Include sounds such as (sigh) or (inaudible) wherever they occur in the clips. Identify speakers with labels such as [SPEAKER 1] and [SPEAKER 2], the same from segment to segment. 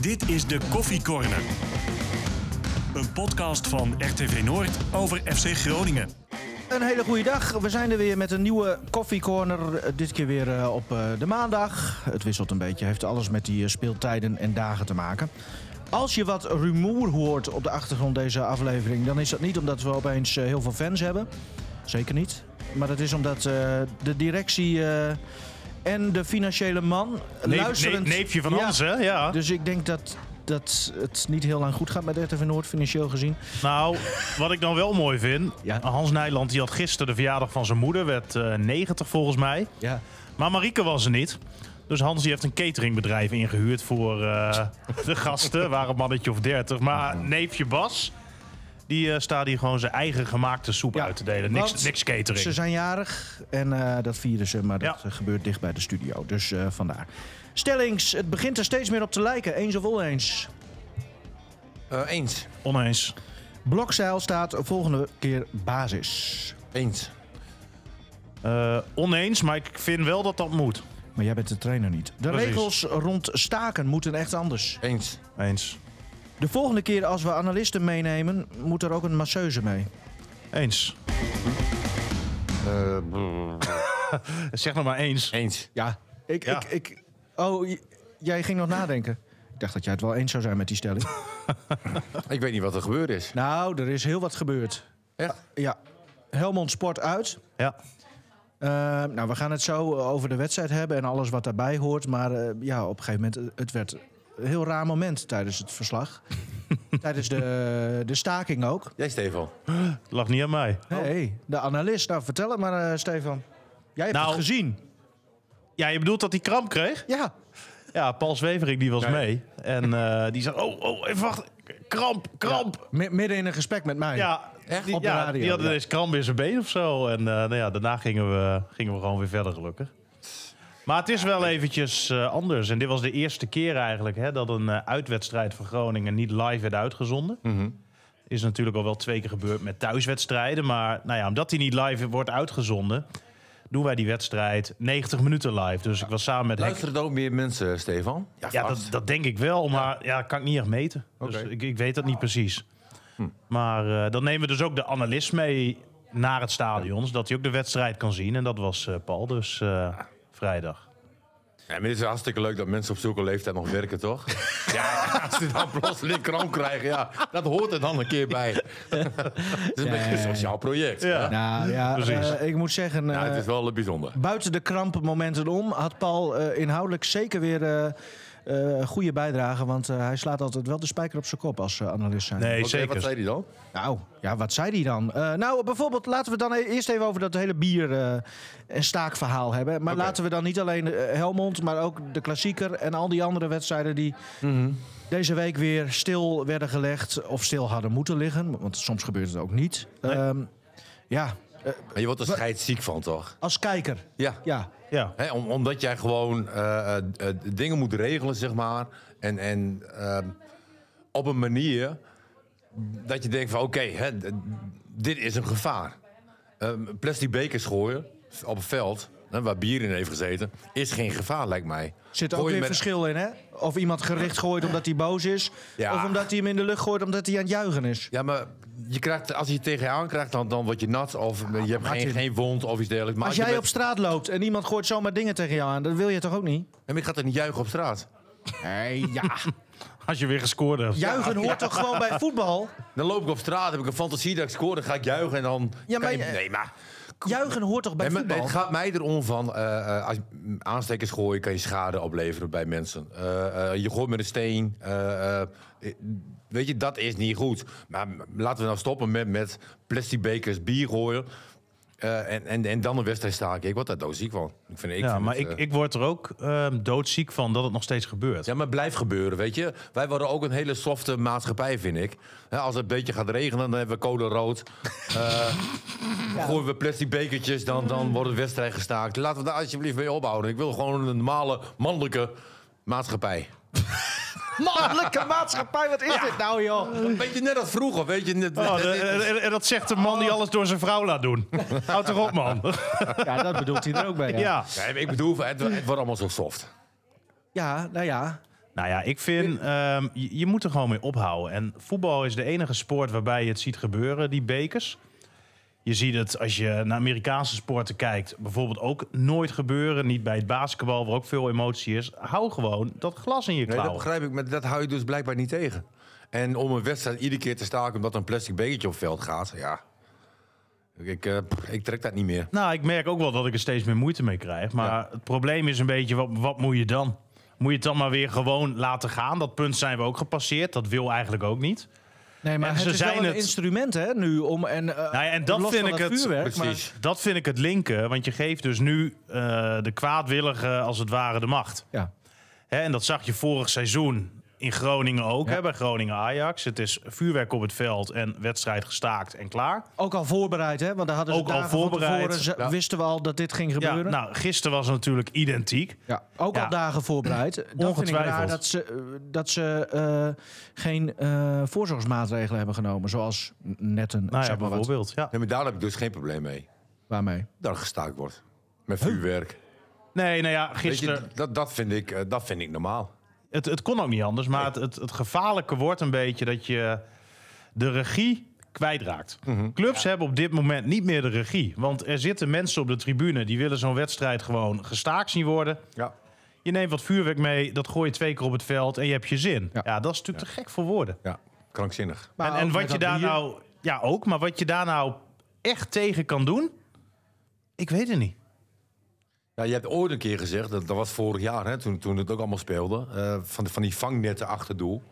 [SPEAKER 1] Dit is de Koffie Corner. Een podcast van RTV Noord over FC Groningen.
[SPEAKER 2] Een hele goede dag. We zijn er weer met een nieuwe Coffee Corner. Eh, Dit keer weer eh, op eh, de maandag. Het wisselt een beetje. Heeft alles met die eh, speeltijden en dagen te maken. Als je wat rumoer hoort op de achtergrond deze aflevering, dan is dat niet omdat we opeens eh, heel veel fans hebben. Zeker niet. Maar dat is omdat eh, de directie eh, en de financiële man
[SPEAKER 3] Neef-
[SPEAKER 2] luisterend...
[SPEAKER 3] neef- neefje van
[SPEAKER 2] Ja.
[SPEAKER 3] ons, hè? Ja.
[SPEAKER 2] Dus ik denk dat, dat het niet heel lang goed gaat met RTV Noord, financieel gezien.
[SPEAKER 3] Nou, wat ik dan wel mooi vind.
[SPEAKER 2] Ja.
[SPEAKER 3] Hans Nijland die had gisteren de verjaardag van zijn moeder. Werd eh, 90 volgens mij.
[SPEAKER 2] Ja.
[SPEAKER 3] Maar Marieke was er niet. Dus Hans die heeft een cateringbedrijf ingehuurd voor eh, de gasten. Waren een mannetje of 30. Maar neefje Bas, die eh, staat hier gewoon zijn eigen gemaakte soep
[SPEAKER 2] Ja,
[SPEAKER 3] uit te delen. Niks,
[SPEAKER 2] want
[SPEAKER 3] niks catering.
[SPEAKER 2] Ze zijn jarig en eh, dat vieren ze, maar dat
[SPEAKER 3] Ja.
[SPEAKER 2] eh, gebeurt dicht bij de studio. Dus eh, vandaar. Stellings, het begint er steeds meer op te lijken. Eens of oneens.
[SPEAKER 4] Eh, eens.
[SPEAKER 3] Oneens.
[SPEAKER 2] Blokzeil staat volgende keer basis.
[SPEAKER 4] Eens.
[SPEAKER 3] Eh, oneens, maar ik vind wel dat dat moet.
[SPEAKER 2] Maar jij bent de trainer niet. De
[SPEAKER 3] Precies.
[SPEAKER 2] regels rond staken moeten echt anders.
[SPEAKER 4] Eens.
[SPEAKER 3] Eens.
[SPEAKER 2] De volgende keer als we analisten meenemen, moet er ook een masseuse mee.
[SPEAKER 3] Eens.
[SPEAKER 4] Eh,
[SPEAKER 3] (laughs) Zeg nog maar eens.
[SPEAKER 4] eens.
[SPEAKER 2] Ja. Ik,
[SPEAKER 3] Ja.
[SPEAKER 2] Ik, ik, oh, j- jij ging nog nadenken. Ik dacht dat jij het wel eens zou zijn met die stelling. (laughs)
[SPEAKER 4] Ik weet niet wat er gebeurd is.
[SPEAKER 2] nou, er is heel wat gebeurd.
[SPEAKER 4] Echt?
[SPEAKER 2] Ja. Helmond Sport uit.
[SPEAKER 3] Ja.
[SPEAKER 2] Eh, nou, we gaan het zo over de wedstrijd hebben en alles wat daarbij hoort. Maar eh, ja, op een gegeven moment, eh, het werd een heel raar moment tijdens het (laughs) verslag. tijdens de, de staking ook.
[SPEAKER 4] Jij, Stefan.
[SPEAKER 3] Lag niet aan mij.
[SPEAKER 2] hey, de analist. Nou, vertel het maar, eh, Stefan. Jij hebt
[SPEAKER 3] Nou.
[SPEAKER 2] het gezien.
[SPEAKER 3] Ja, je bedoelt dat hij kramp kreeg?
[SPEAKER 2] Ja.
[SPEAKER 3] Ja, Paul Zweverik die was
[SPEAKER 4] Ja.
[SPEAKER 3] mee. En eh, die zei, oh, oh, even wachten. Kramp, kramp.
[SPEAKER 2] Mi- midden in een gesprek met mij.
[SPEAKER 3] Ja,
[SPEAKER 4] Echt?
[SPEAKER 3] Die,
[SPEAKER 2] Op de
[SPEAKER 3] ja,
[SPEAKER 2] radio,
[SPEAKER 3] die hadden
[SPEAKER 2] ja.
[SPEAKER 3] deze kramp in zijn been of zo. En eh, nou ja, daarna gingen we, gingen we gewoon weer verder, gelukkig. Maar het is wel eventjes eh, anders. En dit was de eerste keer eigenlijk hè, dat een eh, uitwedstrijd van Groningen niet live werd uitgezonden.
[SPEAKER 2] Mhm.
[SPEAKER 3] Is natuurlijk al wel twee keer gebeurd met thuiswedstrijden. Maar nou ja, omdat die niet live wordt uitgezonden, doen wij die wedstrijd 90 minuten live. Dus ik was samen met Henk
[SPEAKER 4] Luisteren er ook meer mensen, Stefan?
[SPEAKER 3] Ja, dat,
[SPEAKER 4] vast.
[SPEAKER 3] dat denk ik wel, maar ja, kan ik niet echt meten. Dus
[SPEAKER 4] Oké. Hm.
[SPEAKER 3] ik, ik weet dat niet precies. Maar eh, dan nemen we dus ook de analist mee naar het stadion, zodat hij ook de wedstrijd kan zien. En dat was eh, Paul, dus eh, vrijdag.
[SPEAKER 4] Ja, maar het is hartstikke leuk dat mensen op zulke leeftijd nog werken, toch? (laughs) ja, als ze dan plotseling kramp krijgen, ja, dat hoort er dan een keer (laughs) bij. het is een beetje een sociaal project.
[SPEAKER 3] Ja.
[SPEAKER 4] Ja.
[SPEAKER 2] Nou (laughs) ja,
[SPEAKER 3] Precies.
[SPEAKER 2] eh, ik moet zeggen,
[SPEAKER 4] Nou, het
[SPEAKER 2] eh,
[SPEAKER 4] is wel eh, bijzonder.
[SPEAKER 2] buiten de krampen momenten om, had Paul eh, inhoudelijk zeker weer eh, eh, goede bijdrage. Want eh, hij slaat altijd wel de spijker op zijn kop als eh, analist zijn.
[SPEAKER 3] Nee,
[SPEAKER 4] Oké, Wat
[SPEAKER 3] zeker.
[SPEAKER 4] zei hij dan?
[SPEAKER 2] Nou, ja, wat zei die dan? Eh, nou, bijvoorbeeld, laten we dan e- eerst even over dat hele bier- eh, en staakverhaal hebben. Maar
[SPEAKER 4] Oké.
[SPEAKER 2] laten we dan niet alleen eh, Helmond, maar ook de klassieker en al die andere wedstrijden die
[SPEAKER 4] Mhm.
[SPEAKER 2] deze week weer stil werden gelegd of stil hadden moeten liggen. Want soms gebeurt het ook niet. Ehm, ja,
[SPEAKER 4] Maar je wordt er scheidsziek van, toch?
[SPEAKER 2] als kijker.
[SPEAKER 4] Ja.
[SPEAKER 2] Ja,
[SPEAKER 3] Ja.
[SPEAKER 4] Hè, om- omdat jij gewoon eh, eh, eh, dingen moet regelen, zeg maar. En, en ehm, op een manier dat je denkt van oké, hè, d- dit is een gevaar. Ehm, plastic bekers gooien op het veld, hè, waar bier in heeft gezeten, is geen gevaar lijkt mij.
[SPEAKER 2] zit ook
[SPEAKER 4] Gooi
[SPEAKER 2] weer
[SPEAKER 4] je met-
[SPEAKER 2] verschil in, hè? Of iemand gericht gooit omdat hij boos is.
[SPEAKER 4] Ja.
[SPEAKER 2] Of omdat hij hem in de lucht gooit omdat hij aan het juichen is.
[SPEAKER 4] Ja, maar je krijgt, als je het tegen je aankrijgt, dan, dan word je nat of je hebt geen,
[SPEAKER 2] Martin.
[SPEAKER 4] geen wond of iets dergelijks. Maar
[SPEAKER 2] Als jij
[SPEAKER 4] je
[SPEAKER 2] op straat loopt en iemand gooit zomaar dingen tegen jou aan, dat wil je toch ook niet?
[SPEAKER 4] En ik ga er niet juichen op straat.
[SPEAKER 2] Nee, ja.
[SPEAKER 3] Als je weer gescoord hebt.
[SPEAKER 2] Juichen hoort toch gewoon bij voetbal?
[SPEAKER 4] Dan loop ik op straat, heb ik een fantasie dat ik scoor, dan ga ik juichen en dan...
[SPEAKER 2] Ja,
[SPEAKER 4] kan
[SPEAKER 2] maar
[SPEAKER 4] je-
[SPEAKER 2] je-
[SPEAKER 4] nee, maar...
[SPEAKER 2] Juichen hoort toch bij
[SPEAKER 4] Nee, maar
[SPEAKER 2] voetbal?
[SPEAKER 4] het gaat mij erom van, eh, eh, als je mm, aanstekers gooien kan je schade opleveren bij mensen. Eh, eh, je gooit met een steen. eh, eh, eh, weet je, dat is niet goed. Maar mm, laten we nou stoppen met, met plastic bekers bier gooien. eh, en, en, en dan een wedstrijd staken. Ik word daar doodziek van. Ik vind, ik
[SPEAKER 3] ja,
[SPEAKER 4] vind
[SPEAKER 3] maar
[SPEAKER 4] het,
[SPEAKER 3] ik,
[SPEAKER 4] eh,
[SPEAKER 3] ik word er ook ehm, doodziek van dat het nog steeds gebeurt.
[SPEAKER 4] Ja, maar het blijft gebeuren, weet je. Wij worden ook een hele softe maatschappij, vind ik. Hè, als het een beetje gaat regenen, dan hebben we kolen rood. Eh, Gooien we plastic bekertjes, dan, dan wordt de wedstrijd gestaakt. Laten we daar alsjeblieft mee ophouden. Ik wil gewoon een normale, mannelijke maatschappij.
[SPEAKER 2] Mannelijke maatschappij, wat is dit nou, joh?
[SPEAKER 4] Weet je, net als vroeger, weet je. Net,
[SPEAKER 3] Oh,
[SPEAKER 4] (laughs)
[SPEAKER 3] de- en, en- en dat zegt de man
[SPEAKER 4] Oh.
[SPEAKER 3] die alles door zijn vrouw laat doen. Houd erop, man.
[SPEAKER 2] Ja, dat bedoelt hij er ook bij. Ja,
[SPEAKER 3] Ja.
[SPEAKER 4] Ja, ik bedoel, het, het wordt allemaal zo soft.
[SPEAKER 2] Ja, nou ja.
[SPEAKER 3] Nou ja, ik vind, ehm, je, je moet er gewoon mee ophouden. En voetbal is de enige sport waarbij je het ziet gebeuren, die bekers. Je ziet het als je naar Amerikaanse sporten kijkt, bijvoorbeeld ook nooit gebeuren. Niet bij het basketbal, waar ook veel emotie is. Hou gewoon dat glas in je
[SPEAKER 4] Nee, dat
[SPEAKER 3] klauwen.
[SPEAKER 4] begrijp ik, maar dat hou je dus blijkbaar niet tegen. En om een wedstrijd iedere keer te staken omdat een plastic bekertje op het veld gaat, ja. Ik, eh, pff, ik trek dat niet meer.
[SPEAKER 3] Nou, ik merk ook wel dat ik er steeds meer moeite mee krijg. Maar
[SPEAKER 4] Ja.
[SPEAKER 3] het probleem is een beetje, wat, wat moet je dan? Moet je het dan maar weer gewoon laten gaan? Dat punt zijn we ook gepasseerd. Dat wil eigenlijk ook niet.
[SPEAKER 2] Nee, maar
[SPEAKER 3] En
[SPEAKER 2] het
[SPEAKER 3] ze
[SPEAKER 2] is
[SPEAKER 3] zijn
[SPEAKER 2] wel een
[SPEAKER 3] het- Nou
[SPEAKER 2] instrument hè, nu om... En, eh,
[SPEAKER 3] ja, en dat
[SPEAKER 2] los
[SPEAKER 3] vind
[SPEAKER 2] van
[SPEAKER 3] ik
[SPEAKER 2] dat
[SPEAKER 3] het-
[SPEAKER 2] vuurwerk, maar-
[SPEAKER 4] Precies.
[SPEAKER 3] Dat vind ik het linken, want je geeft dus nu eh, de kwaadwilligen als het ware de macht.
[SPEAKER 2] ja.
[SPEAKER 3] Hè, en dat zag je vorig seizoen in Groningen ook,
[SPEAKER 2] Ja.
[SPEAKER 3] hè, bij Groningen-Ajax. Het is vuurwerk op het veld en wedstrijd gestaakt en klaar.
[SPEAKER 2] Ook al voorbereid, hè? Want daar hadden ze
[SPEAKER 3] Ook al
[SPEAKER 2] dagen van
[SPEAKER 3] voorbereid.
[SPEAKER 2] tevoren, ze-
[SPEAKER 4] Ja.
[SPEAKER 2] wisten we al dat dit ging
[SPEAKER 3] Ja,
[SPEAKER 2] gebeuren.
[SPEAKER 3] nou, gisteren was het natuurlijk identiek. Nou
[SPEAKER 2] Ja, ook
[SPEAKER 3] Ja.
[SPEAKER 2] al dagen voorbereid. Dan vind ik
[SPEAKER 3] Ongetwijfeld.
[SPEAKER 2] raar dat ze, eh, dat ze eh, geen eh, voorzorgsmaatregelen hebben genomen. Zoals net een,
[SPEAKER 3] Nou ja,
[SPEAKER 2] zeg maar wat,
[SPEAKER 3] bijvoorbeeld. Ja.
[SPEAKER 4] Nee, maar daar heb ik dus geen probleem mee.
[SPEAKER 2] waarmee.
[SPEAKER 4] Dat er gestaakt wordt. Met vuurwerk.
[SPEAKER 3] Nee, nou ja,
[SPEAKER 4] Weet
[SPEAKER 3] gisteren...
[SPEAKER 4] je, dat, dat, vind ik, eh, dat vind ik normaal.
[SPEAKER 3] het, het kon ook niet anders. Maar het, het, het gevaarlijke wordt een beetje dat je de regie kwijtraakt. Clubs hebben op dit moment niet meer de regie. Want er zitten mensen op de tribune die willen zo'n wedstrijd gewoon gestaakt zien worden.
[SPEAKER 4] Ja.
[SPEAKER 3] Je neemt wat vuurwerk mee, dat gooi je twee keer op het veld en je hebt je zin. Ja,
[SPEAKER 2] Ja.
[SPEAKER 3] dat is natuurlijk te gek voor woorden.
[SPEAKER 4] Ja, krankzinnig.
[SPEAKER 2] Maar
[SPEAKER 3] en en
[SPEAKER 2] ook
[SPEAKER 3] wat
[SPEAKER 2] met
[SPEAKER 3] je
[SPEAKER 2] dat
[SPEAKER 3] daar
[SPEAKER 2] bier.
[SPEAKER 3] nou... Ja, ook. Maar wat je daar nou echt tegen kan doen... Ik weet het niet.
[SPEAKER 4] Ja, je hebt ooit een keer gezegd, dat, dat was vorig jaar, hè, toen, toen het ook allemaal speelde, eh, van, van die vangnetten achter doel.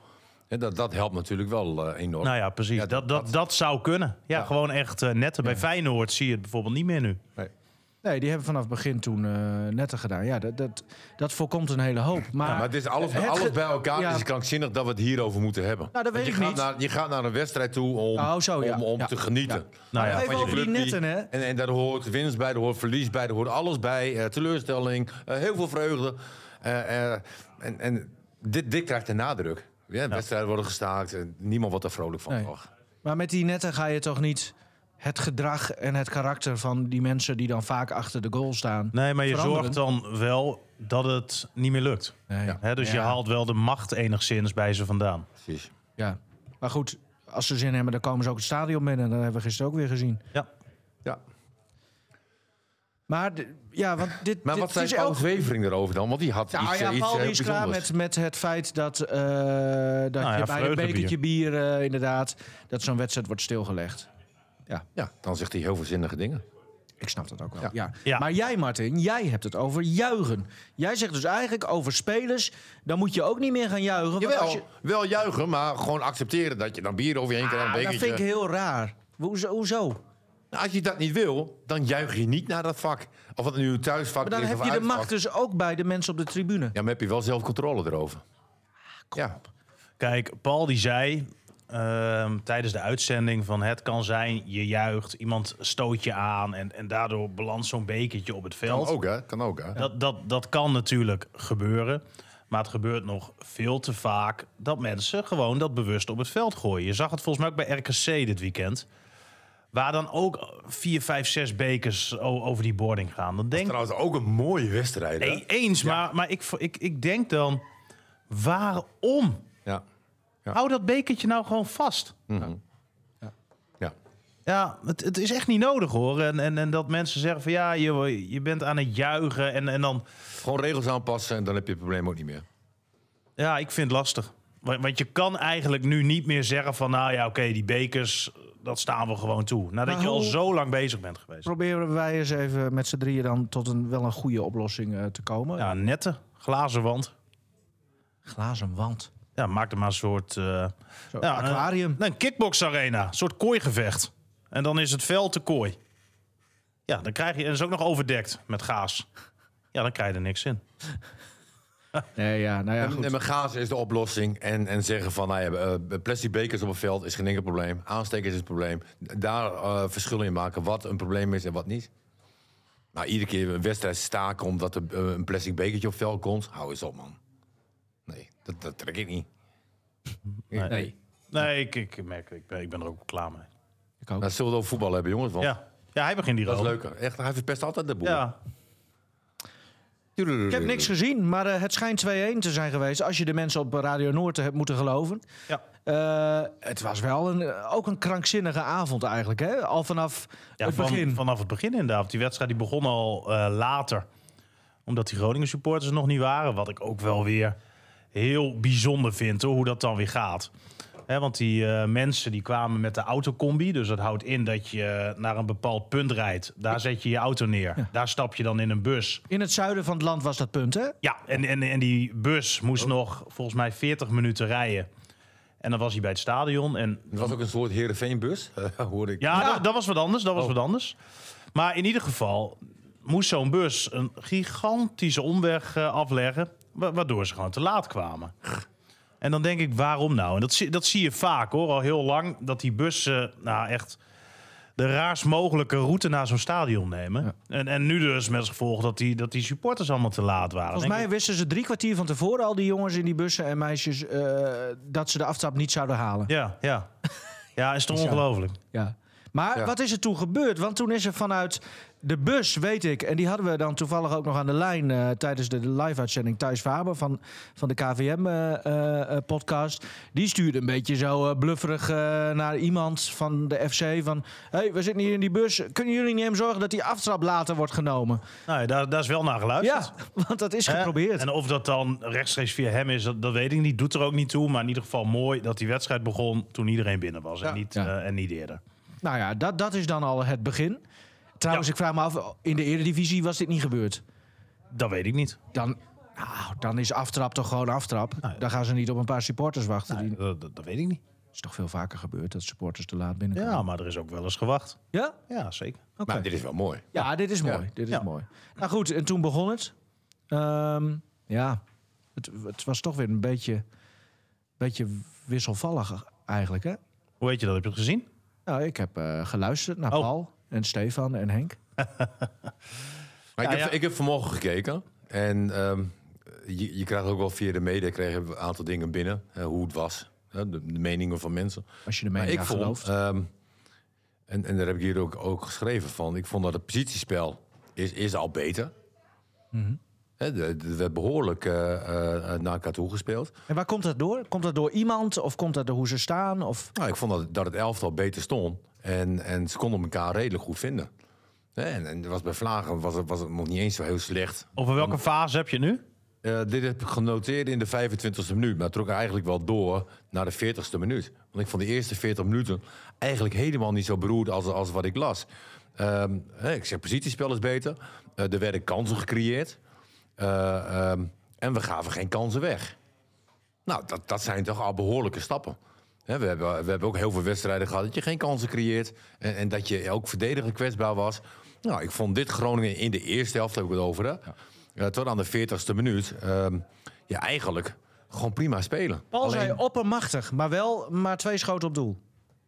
[SPEAKER 4] Hè, dat, dat helpt natuurlijk wel eh, enorm.
[SPEAKER 3] Nou ja, precies.
[SPEAKER 4] Ja,
[SPEAKER 3] dat, dat, dat zou kunnen. Ja,
[SPEAKER 4] Ja.
[SPEAKER 3] gewoon echt eh, netten. Bij Feyenoord zie je het bijvoorbeeld niet meer nu.
[SPEAKER 4] Nee.
[SPEAKER 2] Nee, die hebben vanaf het begin toen eh netten gedaan. Ja, dat, dat, dat voorkomt een hele hoop. Maar,
[SPEAKER 4] Maar het is alles,
[SPEAKER 2] Het
[SPEAKER 4] alles
[SPEAKER 2] ge-
[SPEAKER 4] bij elkaar.
[SPEAKER 2] ja.
[SPEAKER 4] Het is krankzinnig dat we het hierover moeten hebben.
[SPEAKER 2] Nou, dat
[SPEAKER 4] Want
[SPEAKER 2] weet
[SPEAKER 4] je
[SPEAKER 2] ik
[SPEAKER 4] gaat
[SPEAKER 2] niet.
[SPEAKER 4] Naar, je gaat naar een wedstrijd toe om,
[SPEAKER 2] Oh, zo, ja.
[SPEAKER 4] om, om
[SPEAKER 2] Ja.
[SPEAKER 4] te genieten.
[SPEAKER 3] Nou ja,
[SPEAKER 2] even
[SPEAKER 4] Van je
[SPEAKER 2] over die
[SPEAKER 4] club
[SPEAKER 2] netten, hè?
[SPEAKER 4] En, en daar hoort winst bij, daar hoort verlies bij, daar hoort alles bij. eh, teleurstelling, eh, heel veel vreugde. Eh, eh, en en dit, dit krijgt de nadruk. Ja, Wedstrijden worden gestaakt en niemand wordt er vrolijk van.
[SPEAKER 2] Nee.
[SPEAKER 4] Och.
[SPEAKER 2] maar met die netten ga je toch niet het gedrag en het karakter van die mensen die dan vaak achter de goal staan.
[SPEAKER 3] Nee, maar je
[SPEAKER 2] veranderen.
[SPEAKER 3] zorgt dan wel dat het niet meer lukt.
[SPEAKER 2] Nee. Ja.
[SPEAKER 3] Hè, dus je haalt wel de macht enigszins bij ze vandaan.
[SPEAKER 4] Precies.
[SPEAKER 2] ja. Maar goed, als ze zin hebben, dan komen ze ook het stadion binnen. En dat hebben we gisteren ook weer gezien.
[SPEAKER 3] Ja.
[SPEAKER 4] Ja.
[SPEAKER 2] Maar d- ja, want dit,
[SPEAKER 4] Maar
[SPEAKER 2] dit
[SPEAKER 4] wat zei
[SPEAKER 2] is
[SPEAKER 4] Paul
[SPEAKER 2] ook-
[SPEAKER 4] Zwevering erover dan? Want die had
[SPEAKER 2] Ja,
[SPEAKER 4] iets,
[SPEAKER 2] ja,
[SPEAKER 4] eh, iets
[SPEAKER 2] Paul
[SPEAKER 4] heel
[SPEAKER 2] die is klaar
[SPEAKER 4] bijzonders. Nou
[SPEAKER 2] met, met het feit dat, eh, dat
[SPEAKER 3] ja,
[SPEAKER 2] je bij een
[SPEAKER 3] vreugdebier.
[SPEAKER 2] bekertje bier, eh, inderdaad, dat zo'n wedstrijd wordt stilgelegd.
[SPEAKER 4] Ja, dan zegt hij heel veel zinnige dingen.
[SPEAKER 2] Ik snap dat ook wel.
[SPEAKER 4] Ja.
[SPEAKER 2] Ja.
[SPEAKER 3] Ja.
[SPEAKER 2] Maar jij, Martin, jij hebt het over juichen. Jij zegt dus eigenlijk over spelers, dan moet je ook niet meer gaan juichen. want
[SPEAKER 4] Jawel,
[SPEAKER 2] als je-
[SPEAKER 4] wel juichen, maar gewoon accepteren dat je dan bier over je heen krijgt.
[SPEAKER 2] Ah,
[SPEAKER 4] een
[SPEAKER 2] dat
[SPEAKER 4] bekertje.
[SPEAKER 2] vind ik heel raar. Hoezo? hoezo?
[SPEAKER 4] Nou, als je dat niet wil, dan juich je niet naar dat vak. Of wat nu een thuisvak
[SPEAKER 2] Maar dan
[SPEAKER 4] is
[SPEAKER 2] heb
[SPEAKER 4] of
[SPEAKER 2] je de
[SPEAKER 4] uitvak.
[SPEAKER 2] macht dus ook bij de mensen op de tribune.
[SPEAKER 4] Ja, maar heb je wel zelf controle erover.
[SPEAKER 2] Ah,
[SPEAKER 4] Ja,
[SPEAKER 3] Kijk, Paul die zei ehm, tijdens de uitzending van het kan zijn, je juicht, iemand stoot je aan en, en daardoor belandt zo'n bekertje op het
[SPEAKER 4] kan
[SPEAKER 3] veld.
[SPEAKER 4] ook hè. Kan ook, hè.
[SPEAKER 3] Dat, dat, dat kan natuurlijk gebeuren. Maar het gebeurt nog veel te vaak dat mensen gewoon dat bewust op het veld gooien. Je zag het volgens mij ook bij RKC dit weekend. Waar dan ook vier, vijf, zes bekers o- over die boarding gaan. Dan denk
[SPEAKER 4] Trouwens, ook een mooie wedstrijd. hè?
[SPEAKER 3] Nee, eens, maar, maar ik, ik, ik denk dan, waarom?
[SPEAKER 4] Ja.
[SPEAKER 3] Hou dat bekertje nou gewoon vast.
[SPEAKER 4] ja.
[SPEAKER 3] Ja, het, het is echt niet nodig hoor. En, en, en dat mensen zeggen van ja, je, je bent aan het juichen. En, en dan,
[SPEAKER 4] Gewoon regels aanpassen en dan heb je het probleem ook niet meer.
[SPEAKER 3] ja, ik vind het lastig. Want, want je kan eigenlijk nu niet meer zeggen van nou ja, oké, die bekers, dat staan we gewoon toe. Nadat
[SPEAKER 2] Maar
[SPEAKER 3] je al
[SPEAKER 2] hoe-
[SPEAKER 3] zo lang bezig bent geweest.
[SPEAKER 2] Proberen wij eens even met z'n drieën dan tot een, wel een goede oplossing eh, te komen.
[SPEAKER 3] Ja, nette, glazen wand.
[SPEAKER 2] Glazen wand.
[SPEAKER 3] Ja, maak er maar een soort... eh,
[SPEAKER 2] Zo,
[SPEAKER 3] ja,
[SPEAKER 2] aquarium.
[SPEAKER 3] Een, een kickboxarena, een soort kooigevecht. En dan is het veld de kooi. Ja, dan krijg je... En is ook nog overdekt met gaas. Ja, dan krijg je er niks in.
[SPEAKER 2] Nee, ja, nou ja,
[SPEAKER 4] En, en
[SPEAKER 2] goed.
[SPEAKER 4] met gaas is de oplossing. En, en zeggen van, nou ja, eh, plastic bekers op het veld is geen enkel probleem. Aanstekers is het probleem. Daar eh, verschillen in maken wat een probleem is en wat niet. Maar iedere keer een wedstrijd staken omdat er eh, een plastic bekertje op het veld komt. Hou eens op, man. Nee, dat, dat trek ik niet. Nee.
[SPEAKER 3] Nee, ik, ik merk... Ik ben, ik ben er ook klaar mee.
[SPEAKER 2] Ik ook.
[SPEAKER 4] Nou, zullen we het over voetbal hebben, jongens? Want
[SPEAKER 3] Ja, ja hij begint hier
[SPEAKER 4] dat is
[SPEAKER 3] al.
[SPEAKER 4] leuker. Echt, hij verpest altijd de boel.
[SPEAKER 3] Ja.
[SPEAKER 2] Ik heb niks gezien, maar eh, het schijnt 2-1 te zijn geweest. Als je de mensen op Radio Noord eh, hebt moeten geloven.
[SPEAKER 3] Ja.
[SPEAKER 2] Eh, het was wel een, eh, ook een krankzinnige avond eigenlijk. Hè? Al vanaf
[SPEAKER 3] Ja,
[SPEAKER 2] het
[SPEAKER 3] van-
[SPEAKER 2] begin.
[SPEAKER 3] Vanaf het begin inderdaad. Die wedstrijd die begon al eh, later. Omdat die Groningen supporters er nog niet waren. Wat ik ook wel weer heel bijzonder vind hoor, hoe dat dan weer gaat. Hè, want die eh, mensen die kwamen met de autocombi. Dus dat houdt in dat je naar een bepaald punt rijdt. Daar zet je je auto neer. Daar stap je dan in een bus.
[SPEAKER 2] In het zuiden van het land was dat punt, hè?
[SPEAKER 3] Ja, en, en, en die bus moest nog volgens mij 40 minuten rijden. En dan was hij bij het stadion. En
[SPEAKER 4] Er was ook een soort Heerenveenbus, (laughs) hoorde ik.
[SPEAKER 3] Ja,
[SPEAKER 2] Ja. Oh.
[SPEAKER 3] Dat, dat was wat anders. Dat was wat anders. Maar in ieder geval moest zo'n bus een gigantische omweg eh, afleggen, wa- waardoor ze gewoon te laat kwamen. En dan denk ik, waarom nou? En dat, zie- dat zie je vaak hoor, al heel lang, dat die bussen nou echt de raarst mogelijke route naar zo'n stadion nemen. En, en nu dus met als gevolg dat die, dat die supporters allemaal te laat waren.
[SPEAKER 2] Volgens mij wisten ze drie kwartier van tevoren al die jongens in die bussen en meisjes eh, dat ze de aftrap niet zouden halen.
[SPEAKER 3] Ja, ja. Ja, is toch
[SPEAKER 2] (laughs) Ja.
[SPEAKER 3] ongelooflijk.
[SPEAKER 2] Ja. Maar
[SPEAKER 4] Ja.
[SPEAKER 2] wat is er toen gebeurd? Want toen is er vanuit de bus, weet ik, en die hadden we dan toevallig ook nog aan de lijn eh, tijdens de live-uitzending Thijs Faber van, van de eh, KVM-podcast. die stuurde een beetje zo eh, blufferig eh, naar iemand van de FC van... Hé, hey, we zitten hier in die bus. Kunnen jullie niet hem zorgen dat die aftrap later wordt genomen?
[SPEAKER 3] Nou, ja, daar, daar is wel naar geluisterd.
[SPEAKER 2] Ja, (laughs) want dat is
[SPEAKER 3] Hè?
[SPEAKER 2] geprobeerd.
[SPEAKER 3] En of dat dan rechtstreeks via hem is, dat, dat weet ik niet. Doet er ook niet toe. Maar in ieder geval mooi dat die wedstrijd begon toen iedereen binnen was.
[SPEAKER 4] Ja.
[SPEAKER 3] En, niet,
[SPEAKER 2] Ja.
[SPEAKER 3] eh, en niet eerder.
[SPEAKER 2] Nou ja, dat, dat is dan al het begin. Trouwens,
[SPEAKER 3] Ja.
[SPEAKER 2] ik vraag me af, in de Eredivisie was dit niet gebeurd.
[SPEAKER 3] Dat weet ik niet.
[SPEAKER 2] Dan, nou, dan is aftrap toch gewoon aftrap. Dan gaan ze niet op een paar supporters wachten. Die,
[SPEAKER 3] Dat, dat, dat weet ik niet.
[SPEAKER 2] is toch veel vaker gebeurd dat supporters te laat binnenkomen.
[SPEAKER 3] Ja, maar er is ook wel eens gewacht.
[SPEAKER 2] Ja?
[SPEAKER 3] Ja, zeker.
[SPEAKER 2] Oké.
[SPEAKER 4] Maar dit is wel mooi.
[SPEAKER 2] Ja, dit is mooi. Dit is
[SPEAKER 3] Ja.
[SPEAKER 2] mooi. Nou goed, en toen begon het. Ehm, ja, het, het was toch weer een beetje, beetje wisselvallig eigenlijk. Hè?
[SPEAKER 3] Hoe weet je dat? Heb je het gezien?
[SPEAKER 2] Nou, ik heb eh, geluisterd naar
[SPEAKER 3] Oh.
[SPEAKER 2] Paul en Stefan en Henk.
[SPEAKER 4] Maar
[SPEAKER 3] Ja,
[SPEAKER 4] ik, heb,
[SPEAKER 3] ja.
[SPEAKER 4] ik heb vanmorgen gekeken. En ehm, je, je krijgt ook wel via de media kregen we een aantal dingen binnen. hè, hoe het was. hè, de, de meningen van mensen.
[SPEAKER 2] Als je de
[SPEAKER 4] Maar
[SPEAKER 2] mening
[SPEAKER 4] ik
[SPEAKER 2] aan
[SPEAKER 4] vond,
[SPEAKER 2] gelooft.
[SPEAKER 4] ehm, en, en daar heb ik hier ook, ook geschreven van. Ik vond dat het positiespel is, is al beter.
[SPEAKER 2] Mhm.
[SPEAKER 4] Hè, de- de- Er werd behoorlijk eh, eh, eh, naar elkaar toe gespeeld.
[SPEAKER 2] En waar komt dat door? Komt dat door iemand of komt dat door hoe ze staan? Of...
[SPEAKER 4] Nou, ik vond dat, dat het elftal beter stond. En, en ze konden elkaar redelijk goed vinden. Hè, En, en er was bij Vlagen was het, was het nog niet eens zo heel slecht.
[SPEAKER 3] Over welke fase heb je nu?
[SPEAKER 4] Eh, dit heb ik genoteerd in de 25e minuut, maar het trok eigenlijk wel door naar de 40e minuut. Want ik vond de eerste 40 minuten eigenlijk helemaal niet zo beroerd als, als wat ik las. Ehm, hè, ik zeg, positiespel is beter. Eh, er werden kansen gecreëerd. Eh, ehm, en we gaven geen kansen weg. Nou, dat, dat zijn toch al behoorlijke stappen. Hè, we, hebben, we hebben ook heel veel wedstrijden gehad dat je geen kansen creëert. En, en dat je ook verdediger kwetsbaar was. Nou, ik vond dit Groningen in de eerste helft, heb ik het over. Hè? Eh, tot aan de 40ste minuut. ehm, ja, eigenlijk gewoon prima spelen.
[SPEAKER 2] Paul
[SPEAKER 4] Alleen-
[SPEAKER 2] zei oppermachtig, maar wel maar twee schoten op doel.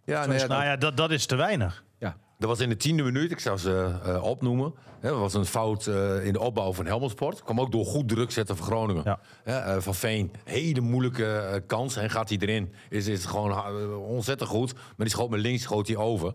[SPEAKER 4] ja, nee, ja, dat-
[SPEAKER 3] nou ja, dat, dat is te weinig.
[SPEAKER 2] Ja.
[SPEAKER 4] Dat was in de tiende minuut, ik zou ze eh, opnoemen. Hè, Dat was een fout eh, in de opbouw van Helmelsport. Kwam ook door goed druk zetten van Groningen.
[SPEAKER 3] Ja.
[SPEAKER 4] Hè, eh, van Veen, hele moeilijke eh, kans. En gaat hij erin, is het gewoon ha- eh, ontzettend goed. Maar die schoot met links, schoot hij over.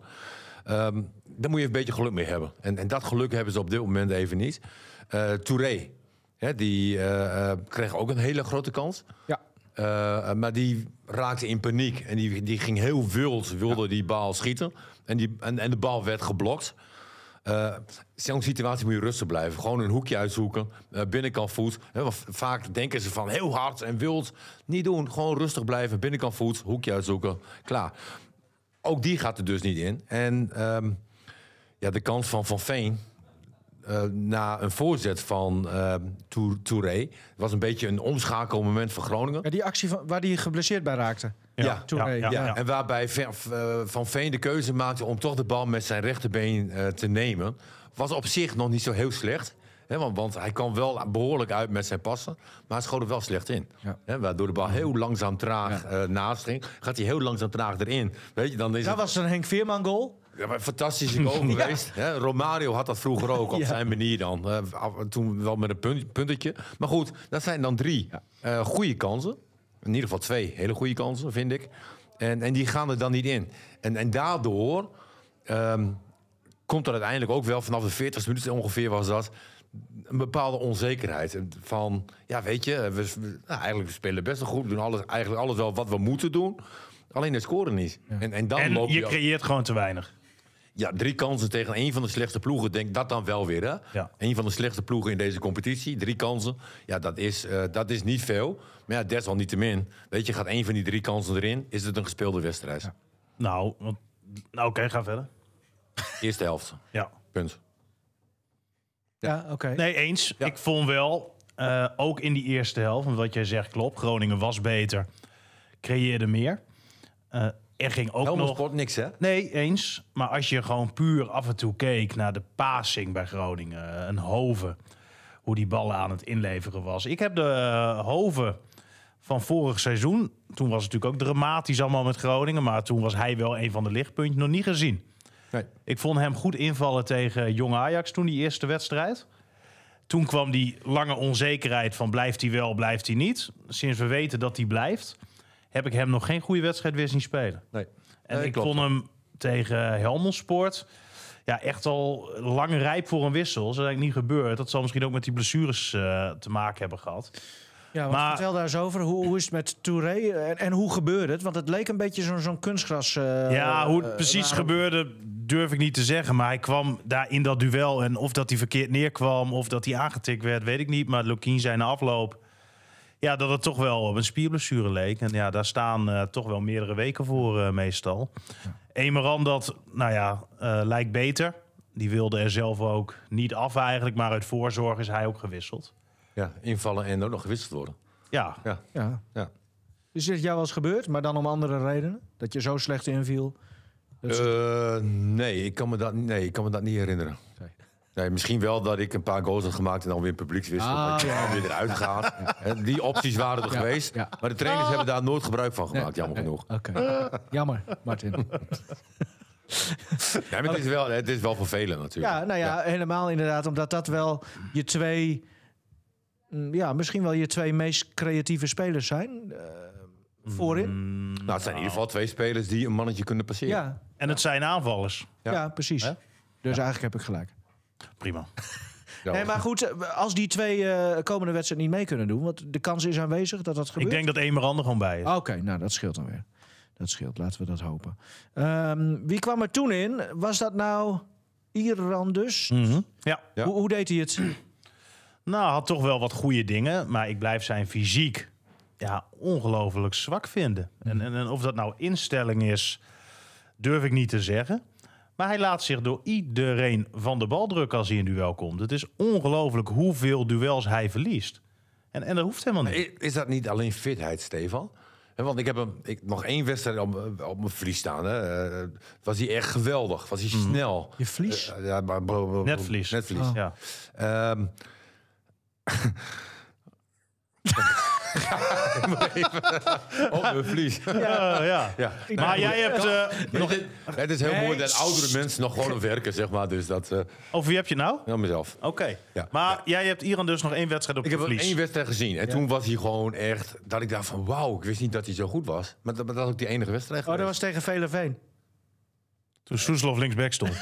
[SPEAKER 4] Ehm daar moet je een beetje geluk mee hebben. En, en dat geluk hebben ze op dit moment even niet. Eh Touré, hè, die eh, eh, kreeg ook een hele grote kans.
[SPEAKER 2] ja.
[SPEAKER 4] Eh, maar die raakte in paniek. En die, die ging heel wild, wilde die bal schieten. En, die, en, en de bal werd geblokt. Eh Zo'n situatie moet je rustig blijven. Gewoon een hoekje uitzoeken. eh, binnenkant voet. Hè, want v- vaak denken ze van heel hard en wild. Niet doen. Gewoon rustig blijven. Binnenkant voet. Hoekje uitzoeken. Klaar. Ook die gaat er dus niet in. En ehm, ja, de kans van Van Veen. eh, na een voorzet van ehm, Tour- Touré. was een beetje een omschakelmoment voor Groningen.
[SPEAKER 2] Ja, die actie van, waar die geblesseerd bij raakte.
[SPEAKER 4] Ja,
[SPEAKER 2] Touré,
[SPEAKER 3] ja,
[SPEAKER 4] Ja,
[SPEAKER 3] ja.
[SPEAKER 4] en waarbij Ver- eh, Van Veen de keuze maakte om toch de bal met zijn rechterbeen eh, te nemen. Was op zich nog niet zo heel slecht. Hè, want, want hij kwam wel behoorlijk uit met zijn passen. Maar hij schoot er wel slecht in.
[SPEAKER 2] Ja.
[SPEAKER 4] Hè, waardoor de bal heel langzaam traag eh, naast ging. Gaat hij heel langzaam traag erin. Weet je, dan is
[SPEAKER 2] Dat
[SPEAKER 4] het
[SPEAKER 2] was een Henk Veerman goal.
[SPEAKER 4] ja, maar een fantastische goal geweest. Hè, Romario had dat vroeger ook op
[SPEAKER 2] Ja.
[SPEAKER 4] zijn manier dan. Eh, af en toe wel met een punt, puntetje. Maar goed, dat zijn dan drie eh, goede kansen. In ieder geval twee hele goede kansen, vind ik. En, en die gaan er dan niet in. En, en daardoor ehm, komt er uiteindelijk ook wel vanaf de 40 minuten ongeveer was dat. een bepaalde onzekerheid. Van, ja, weet je, we, we- nou, eigenlijk spelen best wel goed. We doen alles, eigenlijk alles wel wat we moeten doen. Alleen het scoren niet. En, en dan
[SPEAKER 3] En
[SPEAKER 4] loop
[SPEAKER 3] je
[SPEAKER 4] je...
[SPEAKER 3] creëert gewoon te weinig.
[SPEAKER 4] Ja, drie kansen tegen één van de slechtste ploegen. Denk dat dan wel weer, hè?
[SPEAKER 3] Ja.
[SPEAKER 4] Eén van de slechtste ploegen in deze competitie. Drie kansen. Ja, dat is, eh, dat is niet veel. Maar ja, desalniettemin. Weet je, gaat één van die drie kansen erin, is het een gespeelde wedstrijd.
[SPEAKER 3] Nou, want- nou oké, ga verder.
[SPEAKER 4] Eerste helft.
[SPEAKER 3] Ja.
[SPEAKER 4] Punt.
[SPEAKER 2] Ja, oké.
[SPEAKER 3] Nee, eens.
[SPEAKER 4] Ja.
[SPEAKER 3] Ik vond wel, eh, ook in die eerste helft, want wat jij zegt klopt. Groningen was beter, creëerde meer. Eh, er ging ook
[SPEAKER 4] Helemaal
[SPEAKER 3] nog...
[SPEAKER 4] sport niks, hè?
[SPEAKER 3] Nee, eens. Maar als je gewoon puur af en toe keek naar de passing bij Groningen. eh, Een Hoven. Hoe die ballen aan het inleveren was. Ik heb de eh, Hoven van vorig seizoen. Toen was het natuurlijk ook dramatisch allemaal met Groningen. Maar toen was hij wel een van de lichtpuntjes. Nog niet gezien.
[SPEAKER 4] Nee.
[SPEAKER 3] Ik vond hem goed invallen tegen Jong Ajax toen die eerste wedstrijd. Toen kwam die lange onzekerheid van blijft hij wel, blijft hij niet. Sinds we weten dat hij blijft, heb ik hem nog geen goede wedstrijd weer zien spelen.
[SPEAKER 4] nee.
[SPEAKER 3] En
[SPEAKER 4] Nee,
[SPEAKER 3] ik
[SPEAKER 4] klopt.
[SPEAKER 3] vond hem tegen Helmond Sport ja, echt al lang rijp voor een wissel. Dat is eigenlijk niet gebeurd. Dat zal misschien ook met die blessures eh, te maken hebben gehad.
[SPEAKER 2] Ja, want
[SPEAKER 3] Maar-
[SPEAKER 2] vertel daar eens over. Hoe, hoe is het met Touré en, en hoe gebeurde het? Want het leek een beetje zo'n zo'n kunstgras. eh,
[SPEAKER 3] ja, hoe het
[SPEAKER 2] eh,
[SPEAKER 3] precies
[SPEAKER 2] waarom-
[SPEAKER 3] gebeurde durf ik niet te zeggen. Maar hij kwam daar in dat duel. En of dat hij verkeerd neerkwam of dat hij aangetikt werd, weet ik niet. Maar Lukien zijn afloop... Ja, dat het toch wel op een spierblessure leek. En ja, daar staan eh, toch wel meerdere weken voor eh, meestal. Emeran dat, nou ja, eh, lijkt beter. Die wilde er zelf ook niet af eigenlijk, maar uit voorzorg is hij ook gewisseld.
[SPEAKER 4] Ja, invallen en ook nog gewisseld worden.
[SPEAKER 3] Ja,
[SPEAKER 4] Ja.
[SPEAKER 2] Ja.
[SPEAKER 4] Ja.
[SPEAKER 2] Is dit jou wel eens gebeurd, maar dan om andere redenen? Dat je zo slecht inviel? Dat ze-
[SPEAKER 4] Eh, nee, ik kan me dat, nee, ik kan me dat niet herinneren.
[SPEAKER 2] Nee.
[SPEAKER 4] Nee, misschien wel dat ik een paar goals had gemaakt en dan weer publiek wist
[SPEAKER 2] Ah,
[SPEAKER 4] dat ik
[SPEAKER 2] ja.
[SPEAKER 4] dan weer eruit gaat. En Die opties waren er
[SPEAKER 2] Ja,
[SPEAKER 4] geweest,
[SPEAKER 2] ja.
[SPEAKER 4] maar de trainers hebben daar nooit gebruik van gemaakt, jammer genoeg.
[SPEAKER 2] Eh, Oké. Jammer, Martin.
[SPEAKER 4] Nee, maar het is wel, het is wel vervelend natuurlijk.
[SPEAKER 2] Ja, nou ja, helemaal inderdaad. Omdat dat wel je twee... mm, Ja, misschien wel je twee meest creatieve spelers zijn. eh, voorin.
[SPEAKER 3] Mm.
[SPEAKER 4] Nou, het zijn in ieder geval twee spelers die een mannetje kunnen passeren.
[SPEAKER 2] Ja,
[SPEAKER 3] en het zijn aanvallers.
[SPEAKER 2] ja.
[SPEAKER 4] Ja.
[SPEAKER 2] precies.
[SPEAKER 3] Hè?
[SPEAKER 2] Dus eigenlijk heb ik gelijk.
[SPEAKER 3] Prima.
[SPEAKER 4] Ja.
[SPEAKER 2] Nee, maar goed, eh, als die twee eh, komende wedstrijd niet mee kunnen doen... want de kans is aanwezig dat dat
[SPEAKER 3] Ik
[SPEAKER 2] gebeurt.
[SPEAKER 3] denk dat Emeran er gewoon bij is.
[SPEAKER 2] Oké, nou dat scheelt dan weer. Dat scheelt, laten we dat hopen. Ehm, wie kwam er toen in? Was dat nou Iran dus?
[SPEAKER 3] Mhm. Ja.
[SPEAKER 4] Hm, Ja.
[SPEAKER 2] Hoe, hoe deed hij
[SPEAKER 4] (clears throat)
[SPEAKER 2] het?
[SPEAKER 3] Nou, had toch wel wat goede dingen, maar ik blijf zijn fysiek ja, ongelooflijk zwak vinden.
[SPEAKER 4] Mhm.
[SPEAKER 3] En, en, en of dat nou instelling is, durf ik niet te zeggen. Maar hij laat zich door iedereen van de bal drukken als hij in duel komt. Het is ongelooflijk hoeveel duels hij verliest. En, en dat hoeft helemaal niet.
[SPEAKER 4] I- Is dat niet alleen fitheid, Stefan? Hè, Want ik heb hem, ik, nog één wedstrijd op, m- op mijn vlies staan. Hè. Eh, was hij echt geweldig? Was hij snel?
[SPEAKER 2] Mhm. Je Oh. vlies?
[SPEAKER 4] Eh, ja, maar, bro- bro-
[SPEAKER 3] Net verlies.
[SPEAKER 4] Net vlies.
[SPEAKER 3] Ja.
[SPEAKER 4] Ehm. (laughs) Op mijn vlies.
[SPEAKER 3] Ja, ja.
[SPEAKER 4] Ja.
[SPEAKER 3] Maar jij hebt... eh,
[SPEAKER 4] Nog in- het is heel mooi dat oudere mensen nog gewoon werken, zeg maar. Dus dat, eh
[SPEAKER 3] over wie heb je het nou?
[SPEAKER 4] nou mezelf.
[SPEAKER 3] Oké.
[SPEAKER 4] Ja.
[SPEAKER 3] Maar jij hebt Iran dus nog één wedstrijd op
[SPEAKER 4] Ik
[SPEAKER 3] de
[SPEAKER 4] heb wel
[SPEAKER 3] verlies.
[SPEAKER 4] één wedstrijd gezien. En toen was hij gewoon echt... Dat ik dacht van, wauw, ik wist niet dat hij zo goed was. Maar dat, maar dat was ook die enige wedstrijd
[SPEAKER 2] Oh, dat
[SPEAKER 4] geweest.
[SPEAKER 2] was tegen Veleveen.
[SPEAKER 3] Toen Soeslof linksback
[SPEAKER 4] (laughs)
[SPEAKER 3] stond.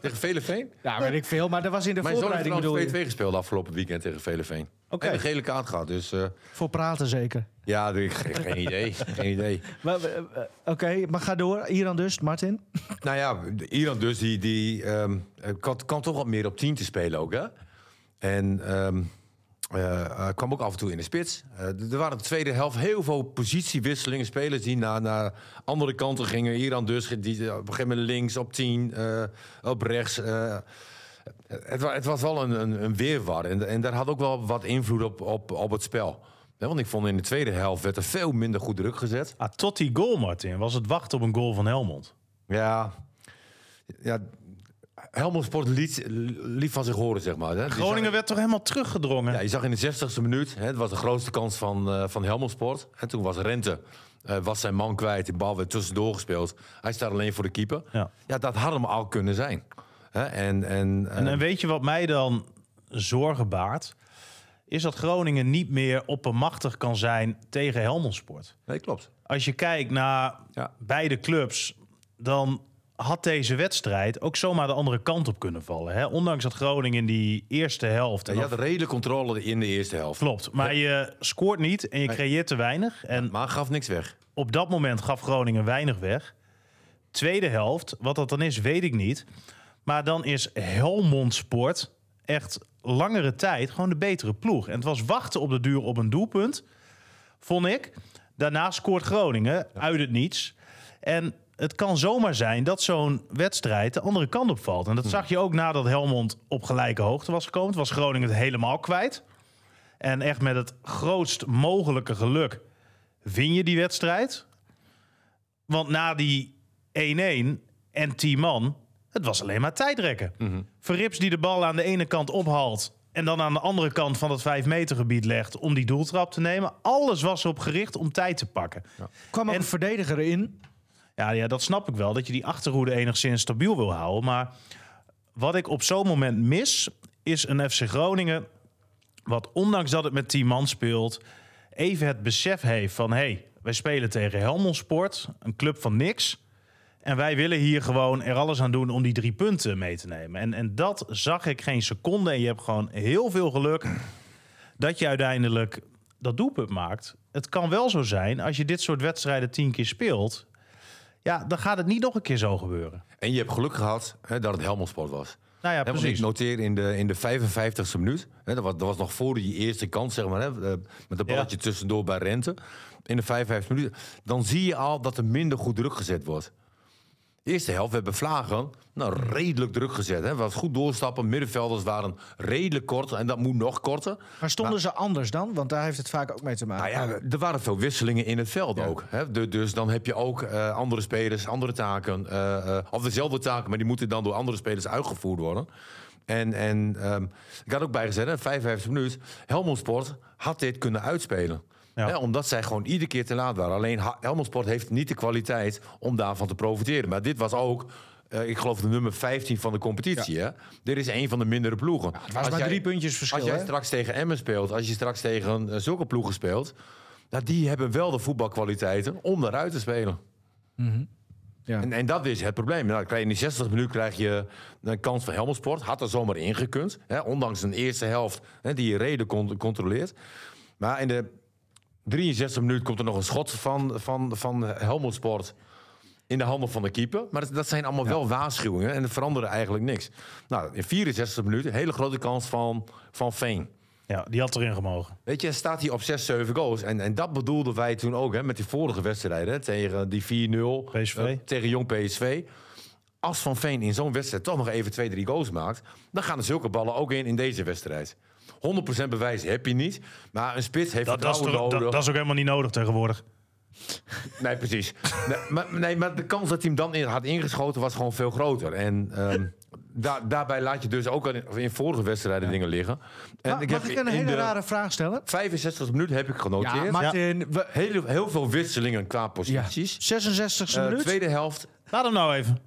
[SPEAKER 4] Tegen Veleveen.
[SPEAKER 2] Ja, weet ik veel, maar dat was in de
[SPEAKER 4] Mijn zoon heeft
[SPEAKER 2] voorbereiding bedoel
[SPEAKER 4] trouwens 2-2
[SPEAKER 2] je.
[SPEAKER 4] gespeeld afgelopen weekend tegen Veleveen.
[SPEAKER 3] Oké.
[SPEAKER 4] Oké. een gele kaart gehad, dus... eh,
[SPEAKER 2] Voor praten zeker.
[SPEAKER 4] ja, (laughs) ik, ge- geen idee. Geen idee.
[SPEAKER 2] Maar, eh, eh, Oké, maar ga door. Iran dus, Martin.
[SPEAKER 4] Nou ja, de- Iran dus, die, die ehm, eh, kan, kan toch wat meer op 10 te spelen ook, hè? En ehm, eh, eh, kwam ook af en toe in de spits. Eh, d- er waren de tweede helft heel veel positiewisselingen. Spelers die naar, naar andere kanten gingen. Iran dus, die eh, op een gegeven moment links op 10, eh, op rechts. eh. het, wa- het was wel een, een, een weerwar. En, en daar had ook wel wat invloed op, op, op het spel. Hè, Want ik vond in de tweede helft werd er veel minder goed druk gezet.
[SPEAKER 3] Ah, tot die goal, Martin, was het wachten op een goal van Helmond.
[SPEAKER 4] Ja, ja Helmond Sport liet, liet van zich horen, zeg maar. Hè. Die
[SPEAKER 3] Groningen
[SPEAKER 4] zag-
[SPEAKER 3] werd toch helemaal teruggedrongen?
[SPEAKER 4] ja, je zag in de 60ste minuut, hè, het was de grootste kans van, eh van Helmond Sport. En toen was Rente, eh, was zijn man kwijt, de bal werd tussendoor gespeeld. Hij staat alleen voor de keeper.
[SPEAKER 3] Ja.
[SPEAKER 4] Ja, dat had hem al kunnen zijn. Hè, en, en, eh,
[SPEAKER 3] En, en weet je wat mij dan zorgen baart? Is dat Groningen niet meer oppermachtig kan zijn tegen Helmond Sport.
[SPEAKER 4] Nee, klopt.
[SPEAKER 3] Als je kijkt naar
[SPEAKER 4] Ja.
[SPEAKER 3] beide clubs, dan had deze wedstrijd ook zomaar de andere kant op kunnen vallen. Hè? Ondanks dat Groningen in die eerste helft...
[SPEAKER 4] Ja, je had redelijk controle in de eerste helft.
[SPEAKER 3] Klopt, maar je scoort niet en je creëert te weinig. En
[SPEAKER 4] Maar gaf niks weg.
[SPEAKER 3] op dat moment gaf Groningen weinig weg. Tweede helft, wat dat dan is, weet ik niet. Maar dan is Helmond Sport echt langere tijd gewoon de betere ploeg. En het was wachten op de duur op een doelpunt, vond ik. Daarna scoort Groningen uit het niets. En het kan zomaar zijn dat zo'n wedstrijd de andere kant op valt. En dat zag je ook nadat Helmond op gelijke hoogte was gekomen. Toen was Groningen het helemaal kwijt. En echt met het grootst mogelijke geluk win je die wedstrijd. Want na die 1-1 en 10 man, het was alleen maar tijdrekken. Verrips die de bal aan de ene kant ophaalt en dan aan de andere kant van het 5 meter gebied legt om die doeltrap te nemen. Alles was erop gericht om tijd te pakken. Ja.
[SPEAKER 2] kwam ook
[SPEAKER 3] En-
[SPEAKER 2] een verdediger in.
[SPEAKER 3] Ja, dat snap ik wel, dat je die achterhoede enigszins stabiel wil houden. Maar wat ik op zo'n moment mis, is een FC Groningen... wat ondanks dat het met 10 man speelt, even het besef heeft van... hé, hey, wij spelen tegen Helmond Sport, een club van niks... en wij willen hier gewoon er alles aan doen om die drie punten mee te nemen. En, en dat zag ik geen seconde. En je hebt gewoon heel veel geluk dat je uiteindelijk dat doelpunt maakt. Het kan wel zo zijn, als je dit soort wedstrijden tien keer speelt... Ja, dan gaat het niet nog een keer zo gebeuren.
[SPEAKER 4] En je hebt geluk gehad hè, dat het Helmond Sport was.
[SPEAKER 3] Nou ja,
[SPEAKER 4] Hè, want ik
[SPEAKER 3] precies.
[SPEAKER 4] noteer in de, in de 55ste minuut. Hè, dat, was, dat was nog voor die eerste kans, zeg maar. Hè, eh, met een balletje tussendoor bij Rente. In de 55ste minuut. Dan zie je al dat er minder goed druk gezet wordt. Eerste helft, we hebben Vlagen nou, redelijk druk gezet. Hè. Was goed doorstappen. Middenvelders waren redelijk kort. En dat moet nog korter.
[SPEAKER 2] Maar stonden ze anders dan? Want daar heeft het vaak ook mee te maken.
[SPEAKER 4] Nou ja, er waren veel wisselingen in het veld ook. Hè? Du- Dus dan heb je ook eh, andere spelers, andere taken. eh, eh, of dezelfde taken, maar die moeten dan door andere spelers uitgevoerd worden. En, en ehm, ik had ook bijgezet, hè, 55 minuten. Helmond Sport had dit kunnen uitspelen.
[SPEAKER 3] Ja.
[SPEAKER 4] Hè, omdat zij gewoon iedere keer te laat waren. Alleen Ha- Helmond Sport heeft niet de kwaliteit om daarvan te profiteren. Maar dit was ook, eh, ik geloof, de nummer 15 van de competitie. Hè? Dit is een van de mindere ploegen.
[SPEAKER 2] het was
[SPEAKER 4] Als
[SPEAKER 2] maar
[SPEAKER 4] jij-
[SPEAKER 2] drie puntjes verschil.
[SPEAKER 4] als jij
[SPEAKER 2] hè?
[SPEAKER 4] straks tegen Emmen speelt, als je straks tegen eh, zulke ploegen speelt, nou, die hebben wel de voetbalkwaliteiten om daaruit te spelen.
[SPEAKER 2] Mhm. Ja.
[SPEAKER 4] En, en dat is het probleem. Nou, dan krijg je in die 60 minuten krijg je een kans van Helmond Sport. Had er zomaar ingekund. Hè, ondanks een eerste helft hè, die je reden con- controleert. Maar in de 63 minuut komt er nog een schot van, van, van Helmond Sport in de handen van de keeper. Maar dat, dat zijn allemaal wel waarschuwingen en het veranderde eigenlijk niks. Nou, in 64 minuten een hele grote kans van, van Veen.
[SPEAKER 3] Ja, die had erin gemogen.
[SPEAKER 4] Weet je, staat hij op 6, 7 goals. En, en dat bedoelden wij toen ook hè, met die vorige wedstrijden. hè, Tegen die 4-0.
[SPEAKER 3] PSV.
[SPEAKER 4] eh, tegen jong PSV. Als Van Veen in zo'n wedstrijd toch nog even 2, 3 goals maakt. dan gaan er zulke ballen ook in in deze wedstrijd. 100% bewijs heb je niet. Maar een spits heeft
[SPEAKER 3] Dat, dat, is,
[SPEAKER 4] vertrouwen
[SPEAKER 3] toch- dat,
[SPEAKER 4] nodig.
[SPEAKER 3] dat is ook helemaal niet nodig tegenwoordig.
[SPEAKER 4] Nee, precies. nee, maar, nee, maar de kans dat hij hem dan in, had ingeschoten was gewoon veel groter. En ehm, da- daarbij laat je dus ook al in, in vorige wedstrijden dingen liggen. En
[SPEAKER 2] Maar Ah, mag
[SPEAKER 4] heb
[SPEAKER 2] ik een
[SPEAKER 4] in
[SPEAKER 2] hele
[SPEAKER 4] de
[SPEAKER 2] rare vraag stellen?
[SPEAKER 4] 65 minuten heb ik genoteerd.
[SPEAKER 2] Ja, Martin, we-
[SPEAKER 4] Heel, heel veel wisselingen qua
[SPEAKER 2] ja.
[SPEAKER 4] posities.
[SPEAKER 2] 66e
[SPEAKER 4] Eh,
[SPEAKER 2] minuut.
[SPEAKER 4] tweede helft.
[SPEAKER 3] Laat hem nou even.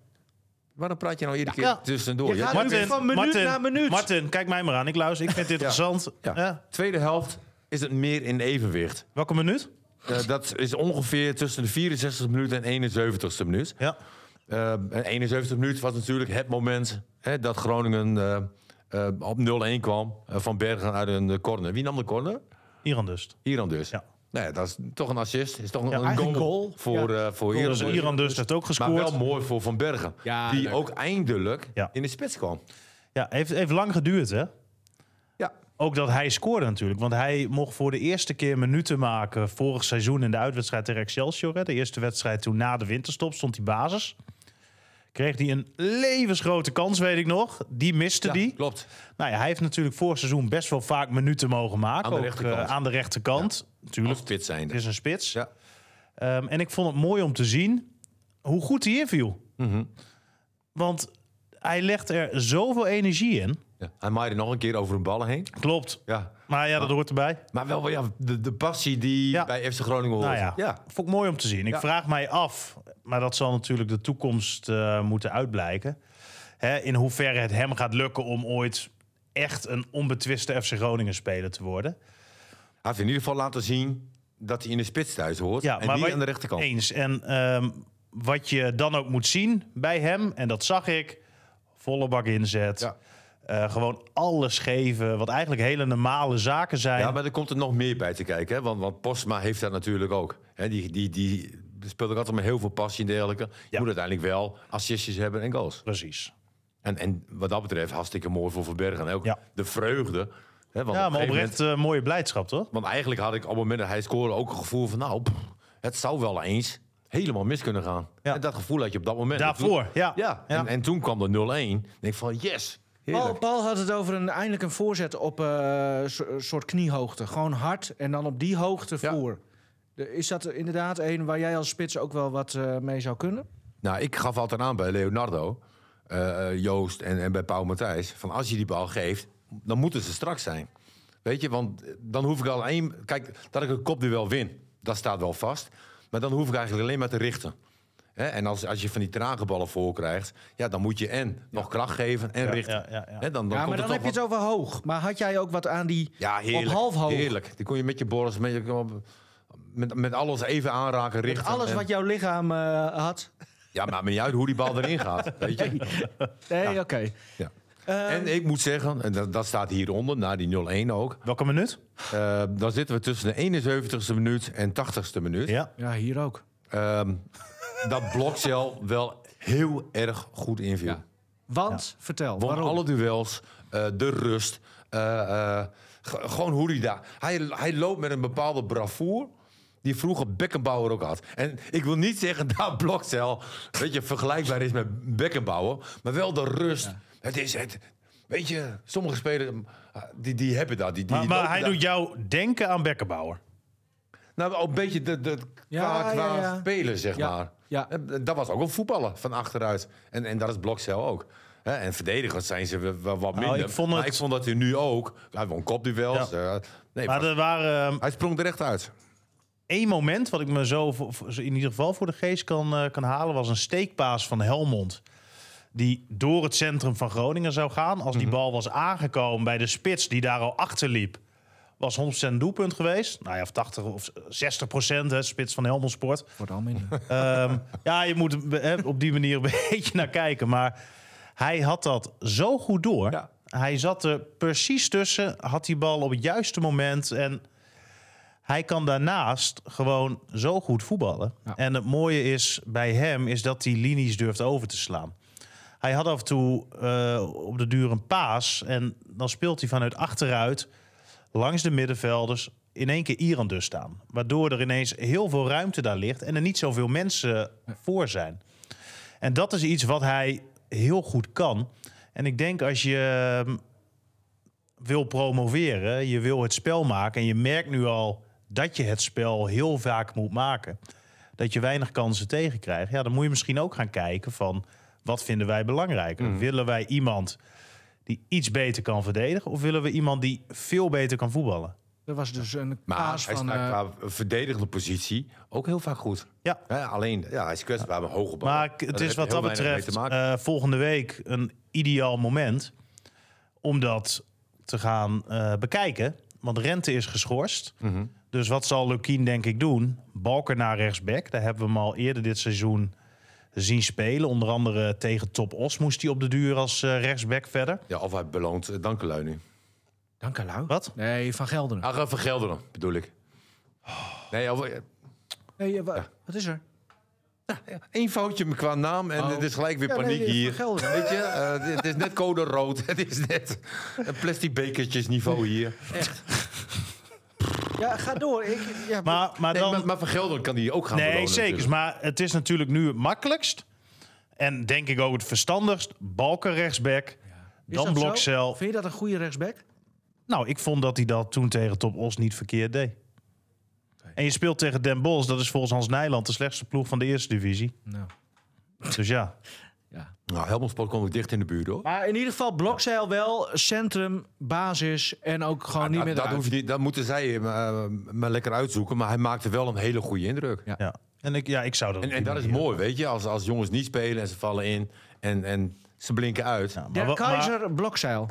[SPEAKER 4] Waarom praat je nou iedere keer
[SPEAKER 2] Ja.
[SPEAKER 4] tussendoor?
[SPEAKER 2] Je gaat
[SPEAKER 4] Ja,
[SPEAKER 2] weer van minuut
[SPEAKER 3] Martin,
[SPEAKER 2] naar minuut.
[SPEAKER 3] Martin, kijk mij maar aan. Ik luister, ik vind dit interessant.
[SPEAKER 4] ja.
[SPEAKER 3] Ja,
[SPEAKER 4] Tweede helft is het meer in evenwicht.
[SPEAKER 3] welke minuut?
[SPEAKER 4] Eh, dat is ongeveer tussen de 64 minuten en 71ste minuut.
[SPEAKER 3] Ja.
[SPEAKER 4] Eh, en 71 minuten was natuurlijk het moment hè, dat Groningen eh, eh, op 0-1 kwam. eh, van Bergen uit een eh, corner. Wie nam de corner?
[SPEAKER 3] Iran dus.
[SPEAKER 4] Iran dus.
[SPEAKER 3] Ja.
[SPEAKER 4] Nou ja, dat is toch een assist. Is toch een, een goal,
[SPEAKER 2] eigen goal.
[SPEAKER 4] voor, eh voor Iran.
[SPEAKER 3] Dus Iran dus heeft ook
[SPEAKER 4] Maar
[SPEAKER 3] gescoord.
[SPEAKER 4] wel mooi voor Van Bergen.
[SPEAKER 2] Ja,
[SPEAKER 4] die
[SPEAKER 2] leuk.
[SPEAKER 4] ook eindelijk
[SPEAKER 3] Ja.
[SPEAKER 4] in de spits kwam.
[SPEAKER 3] Ja, heeft, heeft lang geduurd hè.
[SPEAKER 4] Ja.
[SPEAKER 3] Ook dat hij scoorde natuurlijk. Want hij mocht voor de eerste keer minuten maken vorig seizoen in de uitwedstrijd tegen Excelsior. Hè. De eerste wedstrijd toen na de winterstop stond hij basis. Kreeg hij een levensgrote kans, weet ik nog. Die miste
[SPEAKER 4] Ja,
[SPEAKER 3] die.
[SPEAKER 4] Klopt.
[SPEAKER 3] Nou ja, hij heeft natuurlijk vorig seizoen best wel vaak minuten mogen maken.
[SPEAKER 4] Aan de
[SPEAKER 3] ook,
[SPEAKER 4] rechterkant.
[SPEAKER 3] eh, aan de rechterkant.
[SPEAKER 4] Als
[SPEAKER 3] Natuurlijk,
[SPEAKER 4] fit zijn.
[SPEAKER 3] het is een spits.
[SPEAKER 4] Ja.
[SPEAKER 3] Ehm, en ik vond het mooi om te zien hoe goed hij inviel.
[SPEAKER 4] Mhm.
[SPEAKER 3] Want hij legt er zoveel energie in.
[SPEAKER 4] Ja. Hij maaide nog een keer over een ballen heen.
[SPEAKER 3] Klopt.
[SPEAKER 4] Ja.
[SPEAKER 3] Maar ja, dat hoort erbij.
[SPEAKER 4] Maar wel ja, de, de passie die
[SPEAKER 3] Ja.
[SPEAKER 4] bij FC Groningen hoort.
[SPEAKER 3] Nou ja, vond ik mooi om te zien. Ik
[SPEAKER 4] Ja.
[SPEAKER 3] vraag mij af, maar dat zal natuurlijk de toekomst eh, moeten uitblijken. Hè, in hoeverre het hem gaat lukken om ooit echt een onbetwiste FC Groningen speler te worden.
[SPEAKER 4] Hij heeft in ieder geval laten zien dat hij in de spits thuis hoort. en
[SPEAKER 3] maar
[SPEAKER 4] niet
[SPEAKER 3] wat-
[SPEAKER 4] aan de rechterkant.
[SPEAKER 3] Eens. En ehm, wat je dan ook moet zien bij hem, en dat zag ik, volle bak inzet.
[SPEAKER 4] Ja.
[SPEAKER 3] Eh, gewoon alles geven, wat eigenlijk hele normale zaken zijn.
[SPEAKER 4] Ja, maar er komt er nog meer bij te kijken. Hè? Want, want Postma heeft dat natuurlijk ook. Hè? Die, die, die speelt ook altijd met heel veel passie en dergelijke.
[SPEAKER 3] Ja.
[SPEAKER 4] Moet uiteindelijk wel assistjes hebben en goals.
[SPEAKER 3] Precies.
[SPEAKER 4] En, en wat dat betreft hartstikke mooi voor Verbergen. Ook
[SPEAKER 3] Ja.
[SPEAKER 4] de vreugde.
[SPEAKER 3] ja,
[SPEAKER 4] Hè? Want, op
[SPEAKER 3] maar
[SPEAKER 4] een gegeven moment-
[SPEAKER 3] oprecht eh, mooie blijdschap, toch?
[SPEAKER 4] want eigenlijk had ik op het moment dat hij scoorde ook het gevoel van... nou, pff, het zou wel eens helemaal mis kunnen gaan.
[SPEAKER 3] Ja.
[SPEAKER 4] En dat gevoel had je op dat moment.
[SPEAKER 3] Daarvoor, ja.
[SPEAKER 4] Ja,
[SPEAKER 3] Ja. Oh,
[SPEAKER 4] En, en toen kwam de 0-1. En Ik denk van, yes.
[SPEAKER 2] Paul,
[SPEAKER 4] Heerlijk.
[SPEAKER 2] Paul had het over een, eindelijk een voorzet op eh, so- een soort kniehoogte. Gewoon hard en dan op die hoogte
[SPEAKER 4] Ja.
[SPEAKER 2] voer. De- Is dat inderdaad een waar jij als spits ook wel wat eh, mee zou kunnen?
[SPEAKER 4] Nou, ik gaf altijd aan bij Leonardo, eh, eh, Joost en, en bij Paul Matthijs... van als je die bal geeft, dan moeten ze straks zijn. Weet je, want eh, dan hoef ik alleen... Kijk, dat ik een kopduel win, dat staat wel vast. Maar dan hoef ik eigenlijk alleen maar te richten. Hè, en als, als je van die trage ballen voor krijgt... ja, dan moet je en nog kracht geven en richten.
[SPEAKER 3] ja, ja, ja.
[SPEAKER 4] Hè, dan, dan
[SPEAKER 2] ja, maar
[SPEAKER 4] komt er
[SPEAKER 2] dan
[SPEAKER 4] toch
[SPEAKER 2] heb je het over hoog. Maar had jij ook wat aan die
[SPEAKER 4] ja, heerlijk.
[SPEAKER 2] op half hoog?
[SPEAKER 4] Heerlijk. Die kon je met je borst, met, je- met, met alles even aanraken,
[SPEAKER 2] Met
[SPEAKER 4] richten.
[SPEAKER 2] alles
[SPEAKER 4] en-
[SPEAKER 2] wat jouw lichaam eh, had?
[SPEAKER 4] Ja, maakt me niet uit hoe die bal erin
[SPEAKER 2] (laughs)
[SPEAKER 4] gaat. Weet je?
[SPEAKER 2] Nee, oké.
[SPEAKER 4] Ja.
[SPEAKER 2] Eh,
[SPEAKER 4] En ik moet zeggen, en dat, dat staat hieronder, na die 0-1 ook.
[SPEAKER 3] Welke minuut?
[SPEAKER 4] eh, dan zitten we tussen de 71ste minuut en 80ste minuut.
[SPEAKER 3] Ja.
[SPEAKER 2] ja, hier ook.
[SPEAKER 4] Ehm, dat Blokcel wel heel erg goed inviel.
[SPEAKER 2] Want, vertel,
[SPEAKER 4] Won
[SPEAKER 2] waarom?
[SPEAKER 4] alle duels, eh, de rust. eh, eh, ge- gewoon hoe hij daar... Hij, hij loopt met een bepaalde bravoer die vroeger Beckenbauer ook had. En ik wil niet zeggen (laughs) dat Blokcel weet je, vergelijkbaar is met Beckenbauer. Maar wel de rust. Het is het... Weet je, sommige spelers eh, die, die hebben dat. Die, die
[SPEAKER 3] Maar, maar
[SPEAKER 4] lopen
[SPEAKER 3] hij
[SPEAKER 4] daar-
[SPEAKER 3] doet jou denken aan Bekkenbauer.
[SPEAKER 4] Nou, ook een beetje de, de,
[SPEAKER 2] Ja,
[SPEAKER 4] qua, qua
[SPEAKER 2] ja, ja.
[SPEAKER 4] spelen, zeg
[SPEAKER 2] Ja,
[SPEAKER 4] maar.
[SPEAKER 2] ja.
[SPEAKER 4] En eh, Dat was ook een voetballer van achteruit. En, en dat is Blokcel ook. Hè, En verdedigers zijn ze wel- wel wat
[SPEAKER 3] Nou,
[SPEAKER 4] minder.
[SPEAKER 3] ik vond
[SPEAKER 4] maar
[SPEAKER 3] het-
[SPEAKER 4] ik vond dat hij nu ook... Hij won kopduels. eh, nee,
[SPEAKER 3] Maar
[SPEAKER 4] maar
[SPEAKER 3] er waren eh,
[SPEAKER 4] hij sprong er echt uit.
[SPEAKER 3] één moment wat ik me zo voor- voor- in ieder geval voor de geest kan, eh, kan halen, was een steekpaas van Helmond. Die door het centrum van Groningen zou gaan. Als die bal was aangekomen bij de spits die daar al achter liep, was 100% doelpunt geweest. Nou ja, of 80 of 60% hè, spits van Helmond Sport.
[SPEAKER 2] Wordt al minder.
[SPEAKER 3] Ehm, (laughs) ja, je moet er, hè, op die manier (laughs) een beetje naar kijken. Maar hij had dat zo goed door.
[SPEAKER 4] Ja.
[SPEAKER 3] Hij zat er precies tussen, had die bal op het juiste moment. En hij kan daarnaast gewoon zo goed voetballen.
[SPEAKER 2] Ja.
[SPEAKER 3] En het mooie is bij hem, is dat hij linies durft over te slaan. Hij had af en toe eh, op de duur een paas. En dan speelt hij vanuit achteruit langs de middenvelders in één keer Iran dus staan. Waardoor er ineens heel veel ruimte daar ligt en er niet zoveel mensen voor zijn. En dat is iets wat hij heel goed kan. En ik denk als je ehm, wil promoveren, je wil het spel maken en je merkt nu al dat je het spel heel vaak moet maken, dat je weinig kansen tegenkrijgt, ja, dan moet je misschien ook gaan kijken van wat vinden wij belangrijker? Willen wij iemand die iets beter kan verdedigen of willen we iemand die veel beter kan voetballen?
[SPEAKER 2] Er was dus een
[SPEAKER 4] Maar
[SPEAKER 2] paas
[SPEAKER 4] hij
[SPEAKER 2] van...
[SPEAKER 4] staat
[SPEAKER 2] eh,
[SPEAKER 4] qua verdedigende positie ook heel vaak goed.
[SPEAKER 3] Ja.
[SPEAKER 4] Hè, alleen, ja, hij is kwetsbaar met hoge ballen.
[SPEAKER 3] Maar k-
[SPEAKER 4] Daar
[SPEAKER 3] het
[SPEAKER 4] heb
[SPEAKER 3] is
[SPEAKER 4] je
[SPEAKER 3] wat
[SPEAKER 4] heel
[SPEAKER 3] dat
[SPEAKER 4] weinig mee te
[SPEAKER 3] betreft
[SPEAKER 4] maken.
[SPEAKER 3] eh, volgende week een ideaal moment om dat te gaan eh, bekijken. Want Rente is geschorst.
[SPEAKER 4] Mhm.
[SPEAKER 3] Dus wat zal Lukien denk ik doen? Balken naar rechtsback. Daar hebben we hem al eerder dit seizoen zien spelen. Onder andere tegen Top Os moest hij op de duur als eh, rechtsback verder.
[SPEAKER 4] ja, of hij beloont uh, Dankelui nu.
[SPEAKER 2] Dank u, Lau.
[SPEAKER 3] Wat?
[SPEAKER 2] Nee, Van Gelderen.
[SPEAKER 4] Ach, eh, van Gelderen, bedoel ik. Nee, of, eh,
[SPEAKER 2] Nee, eh, wa- Wat is er?
[SPEAKER 4] Eén foutje qua naam en
[SPEAKER 2] Oh.
[SPEAKER 4] het is gelijk weer
[SPEAKER 2] Ja,
[SPEAKER 4] paniek
[SPEAKER 2] nee,
[SPEAKER 4] hier.
[SPEAKER 2] Van Gelder.
[SPEAKER 4] Weet je, (laughs) eh, het is net code rood. (laughs) Het is net een plastic bekertjes niveau hier.
[SPEAKER 2] Ja, ga door. Ik, ja,
[SPEAKER 3] (laughs) Maar, maar
[SPEAKER 4] Nee,
[SPEAKER 3] dan...
[SPEAKER 4] maar, maar van Gelder kan die ook gaan
[SPEAKER 3] Nee,
[SPEAKER 4] belonen
[SPEAKER 3] zeker.
[SPEAKER 4] natuurlijk.
[SPEAKER 3] Maar het is natuurlijk nu het makkelijkst. En denk ik ook het verstandigst. Balken rechtsback.
[SPEAKER 2] is
[SPEAKER 3] Dan
[SPEAKER 2] dat zo?
[SPEAKER 3] Blokcel.
[SPEAKER 2] Vind je dat een goede rechtsback?
[SPEAKER 3] Nou, ik vond dat hij dat toen tegen Top Os niet verkeerd deed. En je speelt tegen Den Bosch. Dat is volgens Hans Nijland de slechtste ploeg van de eerste divisie.
[SPEAKER 2] Nou.
[SPEAKER 3] Dus ja.
[SPEAKER 4] Nou, Helmond Sport komt ook dicht in de buurt hoor.
[SPEAKER 2] Maar in ieder geval blokzeil wel, centrum, basis en ook gewoon niet
[SPEAKER 4] Nou,
[SPEAKER 2] meer
[SPEAKER 4] dat,
[SPEAKER 2] eruit.
[SPEAKER 4] hoef je niet, dat moeten zij eh, maar, maar lekker uitzoeken. Maar hij maakte wel een hele goede indruk.
[SPEAKER 2] Ja.
[SPEAKER 3] ja. En ik, ja, ik zou dat
[SPEAKER 4] En,
[SPEAKER 3] op
[SPEAKER 4] en
[SPEAKER 3] die
[SPEAKER 4] dat is
[SPEAKER 3] manier-
[SPEAKER 4] mooi, weet je. Als, als jongens niet spelen en ze vallen in en, en ze blinken uit.
[SPEAKER 3] Ja, maar
[SPEAKER 2] Der
[SPEAKER 3] wa- maar-
[SPEAKER 2] Keizer blokzeil.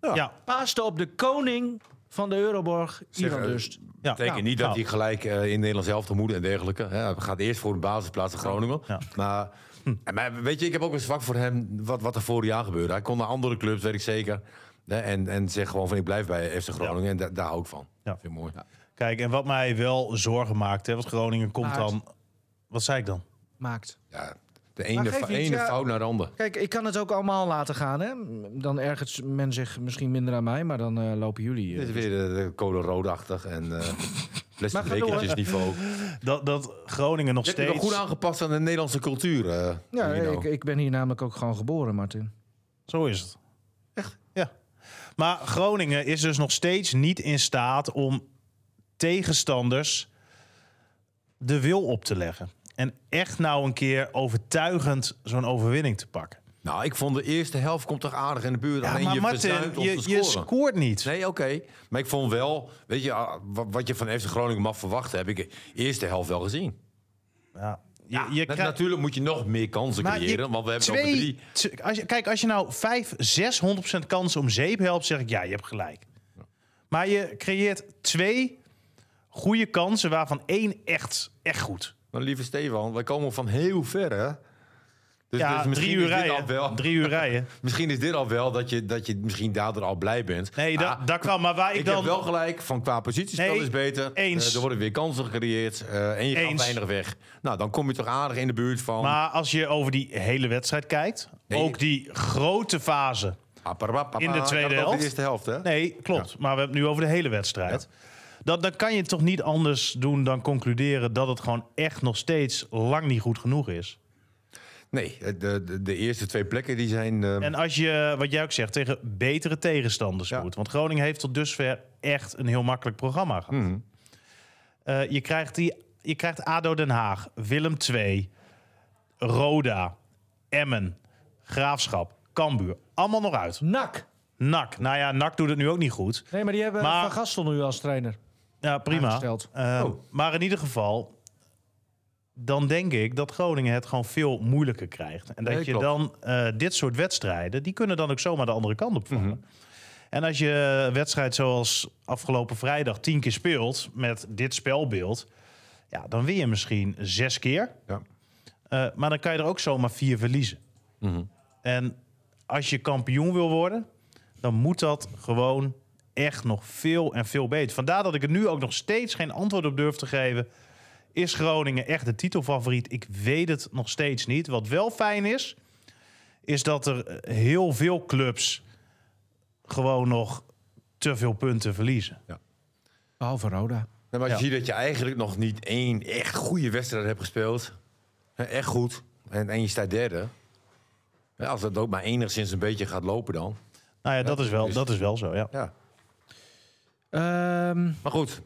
[SPEAKER 3] ja,
[SPEAKER 2] Paaste op de koning van de Euroborg,
[SPEAKER 4] Zeg,
[SPEAKER 2] Ivan
[SPEAKER 4] eh,
[SPEAKER 2] Dust.
[SPEAKER 3] Ja.
[SPEAKER 4] betekent
[SPEAKER 2] Nou,
[SPEAKER 4] niet dat
[SPEAKER 3] nou.
[SPEAKER 4] hij gelijk eh, in Nederland zelf te moeten en dergelijke. Hè, hij gaat eerst voor de basisplaats in Groningen.
[SPEAKER 3] Ja. Hm.
[SPEAKER 4] Maar, en maar weet je, ik heb ook een zwak voor hem wat, wat er vorig jaar gebeurde. Hij kon naar andere clubs, weet ik zeker. Hè, en, en zeg gewoon van ik blijf bij FC Groningen en da- daar hou ik van.
[SPEAKER 3] Ja.
[SPEAKER 4] Vind ik mooi.
[SPEAKER 3] Kijk, en wat mij wel zorgen maakt, hè, want Groningen komt
[SPEAKER 2] Maar-
[SPEAKER 3] dan... Wat zei ik dan?
[SPEAKER 2] Maakt.
[SPEAKER 4] Ja, de ene,
[SPEAKER 2] geeft
[SPEAKER 4] fa-
[SPEAKER 2] niet,
[SPEAKER 4] ene
[SPEAKER 2] ja.
[SPEAKER 4] fout naar de andere.
[SPEAKER 2] Kijk, ik kan het ook allemaal laten gaan. Hè? Dan ergert men zich misschien minder aan mij, maar dan eh, lopen jullie. eh.
[SPEAKER 4] Dit is weer de, de code roodachtig
[SPEAKER 3] (laughs)
[SPEAKER 4] en eh plastic
[SPEAKER 2] Maar ga door.
[SPEAKER 4] bekertjes niveau.
[SPEAKER 3] Dat, dat Groningen nog
[SPEAKER 4] Je hebt je
[SPEAKER 3] steeds...
[SPEAKER 4] wel goed aangepast aan de Nederlandse cultuur, eh,
[SPEAKER 2] ja,
[SPEAKER 4] Nino.
[SPEAKER 2] ik, ik ben hier namelijk ook gewoon geboren, Martin.
[SPEAKER 3] Zo is het. Echt? Ja. Maar Groningen is dus nog steeds niet in staat om tegenstanders de wil op te leggen. En echt nou een keer overtuigend zo'n overwinning te pakken.
[SPEAKER 4] Nou, ik vond de eerste helft komt toch aardig in de buurt.
[SPEAKER 3] Ja,
[SPEAKER 4] alleen
[SPEAKER 3] maar
[SPEAKER 4] je
[SPEAKER 3] Martin,
[SPEAKER 4] verzuimt om
[SPEAKER 3] je,
[SPEAKER 4] te
[SPEAKER 3] je
[SPEAKER 4] scoren.
[SPEAKER 3] scoort niet.
[SPEAKER 4] Nee, oké. Maar ik vond wel, weet je, ah, wa- wat je van FC Groningen mag verwachten, heb ik de eerste helft wel gezien.
[SPEAKER 3] Ja. Je, je
[SPEAKER 4] Na-
[SPEAKER 3] krijgt-
[SPEAKER 4] Natuurlijk moet je nog meer kansen
[SPEAKER 3] maar je-
[SPEAKER 4] creëren, want we hebben ook
[SPEAKER 3] twee-
[SPEAKER 4] drie.
[SPEAKER 3] tw- als je, kijk, als je nou 5, 600% kans om zeep helpt, zeg ik ja, je hebt gelijk. Maar je creëert twee goede kansen, waarvan één echt, echt goed.
[SPEAKER 4] Maar lieve Stefan, wij komen van heel ver, hè? Dus,
[SPEAKER 3] ja,
[SPEAKER 4] dus misschien
[SPEAKER 3] drie uur
[SPEAKER 4] is dit
[SPEAKER 3] rijden.
[SPEAKER 4] al wel.
[SPEAKER 3] Drie uur rijden.
[SPEAKER 4] Misschien is dit al wel dat je, dat je misschien daardoor al blij bent. (laughs)
[SPEAKER 3] Nee, dat,
[SPEAKER 4] Ah,
[SPEAKER 3] dat kan. Maar waar ik,
[SPEAKER 4] ik
[SPEAKER 3] dan...
[SPEAKER 4] heb wel gelijk, van qua positiespel
[SPEAKER 3] Nee,
[SPEAKER 4] is beter.
[SPEAKER 3] eens.
[SPEAKER 4] Eh, er worden weer kansen gecreëerd eh, en je gaat
[SPEAKER 3] Eens.
[SPEAKER 4] weinig weg. Nou, dan kom je toch aardig in de buurt van...
[SPEAKER 3] Maar als je over die hele wedstrijd kijkt,
[SPEAKER 4] Nee.
[SPEAKER 3] ook die grote fase. in
[SPEAKER 4] Apparapapa.
[SPEAKER 3] de
[SPEAKER 4] Ik had het
[SPEAKER 3] tweede
[SPEAKER 4] over
[SPEAKER 3] helft.
[SPEAKER 4] De eerste helft, hè?
[SPEAKER 3] Nee, klopt. Maar we hebben het nu over de hele wedstrijd. Dat, dan kan je het toch niet anders doen dan concluderen dat het gewoon echt nog steeds lang niet goed genoeg is.
[SPEAKER 4] Nee, eh, de, de, de eerste twee plekken die zijn... eh,
[SPEAKER 3] En als je, wat jij ook zegt, tegen betere tegenstanders
[SPEAKER 4] Ja.
[SPEAKER 3] moet. Want Groningen heeft tot dusver echt een heel makkelijk programma gehad.
[SPEAKER 4] Mhm.
[SPEAKER 3] Eh, je, krijgt die, je krijgt ADO Den Haag, Willem II, Roda, Emmen, Graafschap, Cambuur. Allemaal nog uit.
[SPEAKER 2] Nak!
[SPEAKER 3] NAC. Nou ja, NAC doet het nu ook niet goed.
[SPEAKER 2] Nee, maar die hebben
[SPEAKER 3] Maar-
[SPEAKER 2] Van Gastel nu als trainer.
[SPEAKER 3] Ja, prima.
[SPEAKER 2] Aangesteld.
[SPEAKER 3] Eh,
[SPEAKER 4] Oh.
[SPEAKER 3] Maar in ieder geval, dan denk ik dat Groningen het gewoon veel moeilijker krijgt. En dat
[SPEAKER 4] Nee,
[SPEAKER 3] je
[SPEAKER 4] klopt.
[SPEAKER 3] dan eh, dit soort wedstrijden, die kunnen dan ook zomaar de andere kant op
[SPEAKER 4] Mhm.
[SPEAKER 3] vallen. En als je een wedstrijd zoals afgelopen vrijdag tien keer speelt met dit spelbeeld, ja, dan win je misschien zes keer.
[SPEAKER 4] Ja.
[SPEAKER 3] Eh, maar dan kan je er ook zomaar vier verliezen.
[SPEAKER 4] Mhm.
[SPEAKER 3] En als je kampioen wil worden, dan moet dat gewoon echt nog veel en veel beter. Vandaar dat ik er nu ook nog steeds geen antwoord op durf te geven. Is Groningen echt de titelfavoriet? Ik weet het nog steeds niet. Wat wel fijn is, is dat er eh, heel veel clubs gewoon nog te veel punten verliezen.
[SPEAKER 2] Behalve Roda.
[SPEAKER 4] Nee, maar als je
[SPEAKER 3] Ja.
[SPEAKER 4] ziet dat je eigenlijk nog niet één echt goede wedstrijd hebt gespeeld. hè, Echt goed. En, en je staat derde. Ja, Als dat ook maar enigszins een beetje gaat lopen dan.
[SPEAKER 3] Nou ja, dat is wel,
[SPEAKER 4] dus-
[SPEAKER 3] dat is wel zo, ja.
[SPEAKER 4] Ja.
[SPEAKER 2] Ehm,
[SPEAKER 4] Maar goed,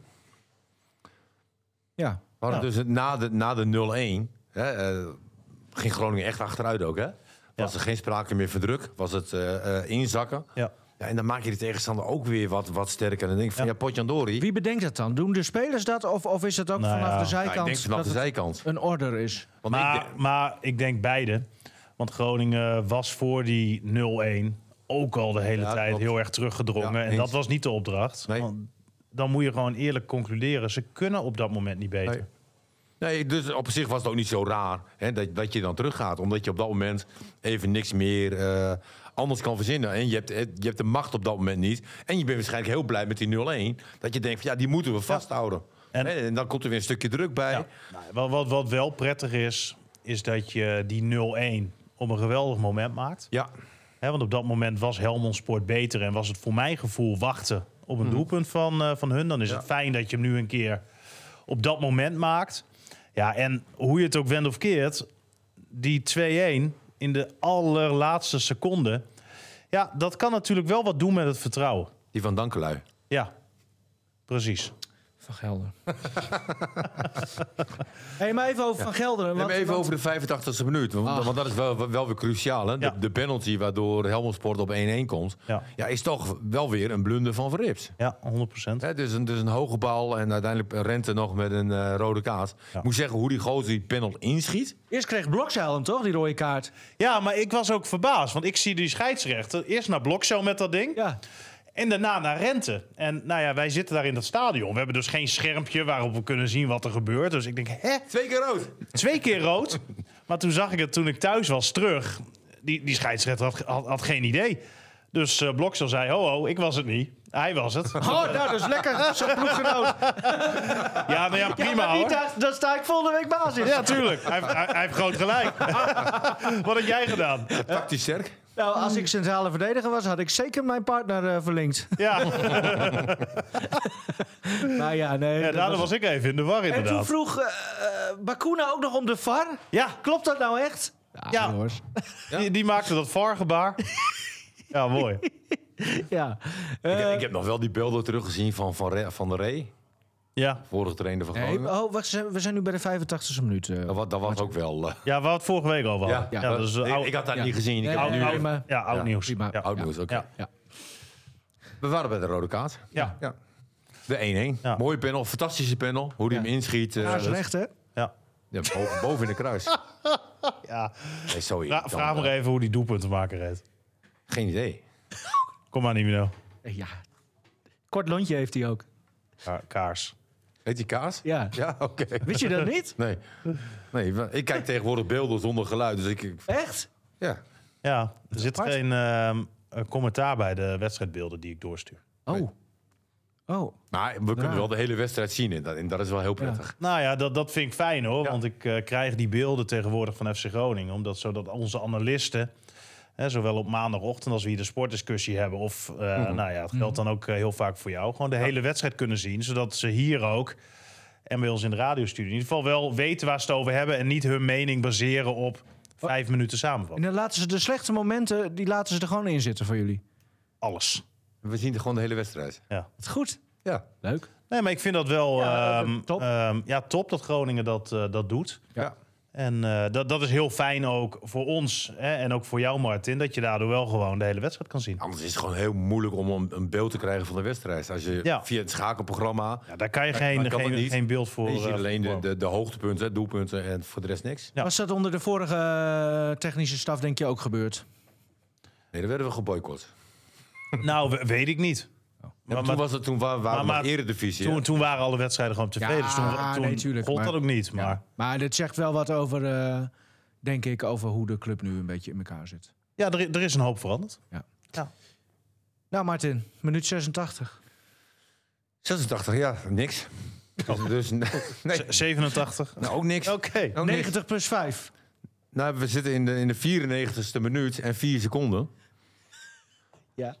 [SPEAKER 2] ja.
[SPEAKER 4] we hadden
[SPEAKER 3] Ja.
[SPEAKER 4] dus het- na de, na de 0-1 hè, eh, ging Groningen echt achteruit ook. Hè? Was
[SPEAKER 3] Ja.
[SPEAKER 4] er geen sprake meer van druk. Was het eh, eh, inzakken.
[SPEAKER 3] ja.
[SPEAKER 4] Ja, en dan maak je de tegenstander ook weer wat, wat sterker. En dan denk ik van ja,
[SPEAKER 3] Ja.
[SPEAKER 4] Potjandori.
[SPEAKER 2] Wie bedenkt dat dan? Doen de spelers dat of, of is het ook
[SPEAKER 3] Nou
[SPEAKER 2] vanaf
[SPEAKER 3] ja.
[SPEAKER 2] de
[SPEAKER 4] Ja,
[SPEAKER 2] zijkant
[SPEAKER 4] ik denk vanaf
[SPEAKER 2] dat
[SPEAKER 4] de
[SPEAKER 2] het
[SPEAKER 4] zijkant.
[SPEAKER 2] een order is?
[SPEAKER 4] Want ik
[SPEAKER 3] Maar,
[SPEAKER 4] denk-
[SPEAKER 3] maar ik denk beide. Want Groningen was voor die 0-1 ook al de hele
[SPEAKER 4] Ja,
[SPEAKER 3] tijd
[SPEAKER 4] klopt.
[SPEAKER 3] heel erg teruggedrongen.
[SPEAKER 4] Ja,
[SPEAKER 3] en
[SPEAKER 4] eens.
[SPEAKER 3] dat was niet de opdracht.
[SPEAKER 4] Nee.
[SPEAKER 3] Want dan moet je gewoon eerlijk concluderen. Ze kunnen op dat moment niet beter.
[SPEAKER 4] Nee. Nee, dus op zich was het ook niet zo raar hè, dat, dat je dan teruggaat. Omdat je op dat moment even niks meer eh, anders kan verzinnen. En je hebt, eh, je hebt de macht op dat moment niet. En je bent waarschijnlijk heel blij met die 0-1. Dat je denkt van ja, die moeten we vasthouden.
[SPEAKER 3] En-
[SPEAKER 4] En, en dan komt er weer een stukje druk bij.
[SPEAKER 3] Ja. Nou, wat, wat, wat wel prettig is, is dat je die 0-1 op een geweldig moment maakt.
[SPEAKER 4] Ja,
[SPEAKER 3] Hè, want op dat moment was Helmond Sport beter. En was het voor mijn gevoel wachten op een doelpunt van, eh, van hun. Dan is het fijn dat je hem nu een keer op dat moment maakt. Ja, en hoe je het ook wendt of keert, die 2-1 in de allerlaatste seconde. Ja, dat kan natuurlijk wel wat doen met het vertrouwen.
[SPEAKER 4] die van Dankelui.
[SPEAKER 3] Ja, precies.
[SPEAKER 2] Van Gelder. (laughs) hey, maar even over Van Gelder.
[SPEAKER 4] We
[SPEAKER 2] want-
[SPEAKER 4] hebben even
[SPEAKER 2] want-
[SPEAKER 4] over de 85e minuut. Want, want dat is wel, wel weer cruciaal. Hè?
[SPEAKER 3] Ja.
[SPEAKER 4] De, de penalty waardoor Helmond Sport op 1-1 komt. Ja.
[SPEAKER 3] Ja.
[SPEAKER 4] is toch wel weer een blunder van Verrips.
[SPEAKER 3] Ja, 100%.
[SPEAKER 4] Hè, dus, een, dus een hoge bal en uiteindelijk Rente nog met een eh, rode kaart.
[SPEAKER 3] Ja.
[SPEAKER 4] Ik moet zeggen, hoe die gozer die penalty inschiet.
[SPEAKER 2] Eerst kreeg Blokzeil hem toch, die rode kaart?
[SPEAKER 3] Ja, maar ik was ook verbaasd. Want ik zie die scheidsrechter eerst naar Blokcel met dat ding.
[SPEAKER 2] Ja.
[SPEAKER 3] En daarna naar Rente. En nou ja, wij zitten daar in dat stadion. We hebben dus geen schermpje waarop we kunnen zien wat er gebeurt. Dus ik denk, hè?
[SPEAKER 4] Twee keer rood.
[SPEAKER 3] Twee keer
[SPEAKER 2] (laughs)
[SPEAKER 3] rood. Maar toen zag ik het toen ik thuis was terug. Die, die scheidsrechter had, had, had geen idee. Dus eh Bloksel zei, ho ho, ik was het niet. Hij
[SPEAKER 2] (laughs)
[SPEAKER 3] was het.
[SPEAKER 2] Oh, nou, dat is lekker. Zo'n ploeggenoot.
[SPEAKER 3] Ja, nou ja, (laughs) prima
[SPEAKER 2] Ja, maar niet,
[SPEAKER 3] hoor.
[SPEAKER 2] daar- dan sta ik volgende week basis.
[SPEAKER 3] Ja, tuurlijk. Hij, heeft- hij, hij heeft groot gelijk.
[SPEAKER 2] (laughs)
[SPEAKER 3] (laughs) Wat heb jij gedaan?
[SPEAKER 4] Tactisch sterk.
[SPEAKER 2] Nou, als ik centrale verdediger was, had ik zeker mijn partner eh,
[SPEAKER 3] (laughs)
[SPEAKER 2] verlinkt.
[SPEAKER 3] Ja,
[SPEAKER 2] nou ja, nee.
[SPEAKER 3] ja
[SPEAKER 2] dat
[SPEAKER 3] daardoor
[SPEAKER 2] was-
[SPEAKER 3] was ik even in de war
[SPEAKER 2] En toen
[SPEAKER 3] inderdaad.
[SPEAKER 2] vroeg eh, eh, Bakuna ook nog om de VAR.
[SPEAKER 3] Ja,
[SPEAKER 2] Klopt dat nou echt?
[SPEAKER 3] Ja.
[SPEAKER 2] jongens.
[SPEAKER 3] die, die maakte dat VAR-gebaar. Ja, mooi.
[SPEAKER 2] Ja.
[SPEAKER 4] Ik,
[SPEAKER 2] Eh,
[SPEAKER 4] ik heb nog wel die beelden teruggezien van Van, Re- van der Rey.
[SPEAKER 3] Ja,
[SPEAKER 4] Vorige trainer van
[SPEAKER 2] hey,
[SPEAKER 4] Groningen.
[SPEAKER 2] oh, wacht, we zijn nu bij de 85e minuut. eh.
[SPEAKER 4] Dat, wa- dat was ook wel... eh,
[SPEAKER 3] ja we hadden het vorige week al wel. Ja,
[SPEAKER 4] ja,
[SPEAKER 3] dat is eh,
[SPEAKER 4] ik,
[SPEAKER 3] oud,
[SPEAKER 4] ik had dat
[SPEAKER 2] ja.
[SPEAKER 4] niet gezien. Ik
[SPEAKER 2] Nee,
[SPEAKER 4] heb
[SPEAKER 3] oud,
[SPEAKER 4] nu
[SPEAKER 2] nee,
[SPEAKER 3] oud-
[SPEAKER 2] maar-
[SPEAKER 3] ja, oud
[SPEAKER 4] Ja,
[SPEAKER 3] nieuws.
[SPEAKER 2] prima.
[SPEAKER 3] Ja.
[SPEAKER 4] oud nieuws. oké.
[SPEAKER 3] Ja.
[SPEAKER 2] ja.
[SPEAKER 4] We waren bij de rode kaart.
[SPEAKER 3] Ja.
[SPEAKER 4] Ja. De 1-1.
[SPEAKER 3] Ja.
[SPEAKER 4] Mooie panel, fantastische panel. Hoe die
[SPEAKER 2] Ja.
[SPEAKER 4] hem inschiet. eh,
[SPEAKER 2] Ja, is
[SPEAKER 4] dat-
[SPEAKER 2] recht, hè?
[SPEAKER 3] Ja.
[SPEAKER 4] ja, bo- boven in de kruis.
[SPEAKER 3] (laughs) Ja.
[SPEAKER 4] Nee, zo
[SPEAKER 3] Vra-
[SPEAKER 4] irritant,
[SPEAKER 3] vraag maar
[SPEAKER 4] eh.
[SPEAKER 3] even hoe die doelpuntenmaker heet.
[SPEAKER 4] Geen idee.
[SPEAKER 3] Kom maar, Nino.
[SPEAKER 2] Ja. Kort lontje heeft hij ook.
[SPEAKER 3] Ka- Kaars.
[SPEAKER 4] Heet die kaas?
[SPEAKER 2] Ja.
[SPEAKER 4] Ja, (laughs) oké.
[SPEAKER 2] Wist (laughs) je dat niet?
[SPEAKER 4] Nee. nee, wa- ik kijk tegenwoordig beelden zonder geluid. Dus ik, ik-
[SPEAKER 2] Echt?
[SPEAKER 4] ja.
[SPEAKER 3] Ja, er zit
[SPEAKER 2] apart.
[SPEAKER 3] geen ehm, eh, commentaar bij de wedstrijdbeelden die ik doorstuur.
[SPEAKER 2] Oh. Oh.
[SPEAKER 4] Maar we kunnen
[SPEAKER 2] Ja.
[SPEAKER 4] wel de hele wedstrijd zien. En dat, en dat is wel heel prettig.
[SPEAKER 3] Nou ja, dat, dat vind ik fijn hoor.
[SPEAKER 4] Ja.
[SPEAKER 3] Want ik eh, krijg die beelden tegenwoordig van FC Groningen. Omdat zodat onze analisten, hè, zowel op maandagochtend als we hier de sportdiscussie hebben. Of eh,
[SPEAKER 2] Mhm.
[SPEAKER 3] nou ja, het geldt dan ook eh, heel vaak voor jou. Gewoon de hele wedstrijd kunnen zien. Zodat ze hier ook en bij ons in de radiostudio in ieder geval wel weten waar ze het over hebben. En niet hun mening baseren op vijf minuten
[SPEAKER 2] En
[SPEAKER 3] samenvatting.
[SPEAKER 2] dan laten ze de slechte momenten, die laten ze er gewoon in zitten voor jullie.
[SPEAKER 3] Alles.
[SPEAKER 4] We zien gewoon de hele wedstrijd.
[SPEAKER 3] Ja.
[SPEAKER 2] Het goed.
[SPEAKER 4] Ja.
[SPEAKER 2] Leuk.
[SPEAKER 3] Nee, maar ik vind dat wel
[SPEAKER 2] Ja,
[SPEAKER 3] ehm,
[SPEAKER 2] top.
[SPEAKER 3] ehm, ja, top dat Groningen dat, eh, dat doet.
[SPEAKER 4] Ja.
[SPEAKER 3] En eh, dat, dat is heel fijn ook voor ons hè, en ook voor jou, Martin, dat je daardoor wel gewoon de hele wedstrijd kan zien.
[SPEAKER 4] Anders is het gewoon heel moeilijk om een, een beeld te krijgen van de wedstrijd. Als je
[SPEAKER 3] Ja.
[SPEAKER 4] via het schakelprogramma...
[SPEAKER 3] Ja, daar kan je
[SPEAKER 4] maar
[SPEAKER 3] geen,
[SPEAKER 4] kan dat
[SPEAKER 3] geen,
[SPEAKER 4] niet?
[SPEAKER 3] geen beeld voor.
[SPEAKER 4] je ziet
[SPEAKER 3] eh,
[SPEAKER 4] alleen de,
[SPEAKER 3] voor-
[SPEAKER 4] de, de hoogtepunten, doelpunten en voor de rest niks.
[SPEAKER 3] Ja.
[SPEAKER 2] Was dat onder de vorige eh, technische staf, denk je, ook gebeurd?
[SPEAKER 4] Nee, dan werden we geboycott.
[SPEAKER 3] Nou, we- weet ik niet.
[SPEAKER 4] Oh. Ja,
[SPEAKER 3] Maar-
[SPEAKER 4] maar, toen, was het, toen wa- waren
[SPEAKER 3] maar-
[SPEAKER 4] we nog eredivisie.
[SPEAKER 3] Toen, toen waren alle wedstrijden gewoon op tv.
[SPEAKER 2] Ja,
[SPEAKER 3] dus toen, toen
[SPEAKER 2] nee, tuurlijk,
[SPEAKER 3] gold
[SPEAKER 2] maar-
[SPEAKER 3] dat ook niet. Maar
[SPEAKER 2] Ja.
[SPEAKER 3] ja,
[SPEAKER 2] Maar dit zegt wel wat over, eh, denk ik, over hoe de club nu een beetje in elkaar zit.
[SPEAKER 3] er, i- er is een hoop veranderd.
[SPEAKER 2] Nou, Martin, minuut 86.
[SPEAKER 4] 86, ja, niks.
[SPEAKER 3] Oh.
[SPEAKER 4] (laughs) Dus, dus
[SPEAKER 3] (laughs)
[SPEAKER 4] nee,
[SPEAKER 3] Z- 87.
[SPEAKER 4] nou, ook niks.
[SPEAKER 3] Oké.
[SPEAKER 4] Ook niks.
[SPEAKER 2] 90 plus 5.
[SPEAKER 4] Nou, we zitten in de, in de 94ste minuut en 4 seconden.
[SPEAKER 2] Ja.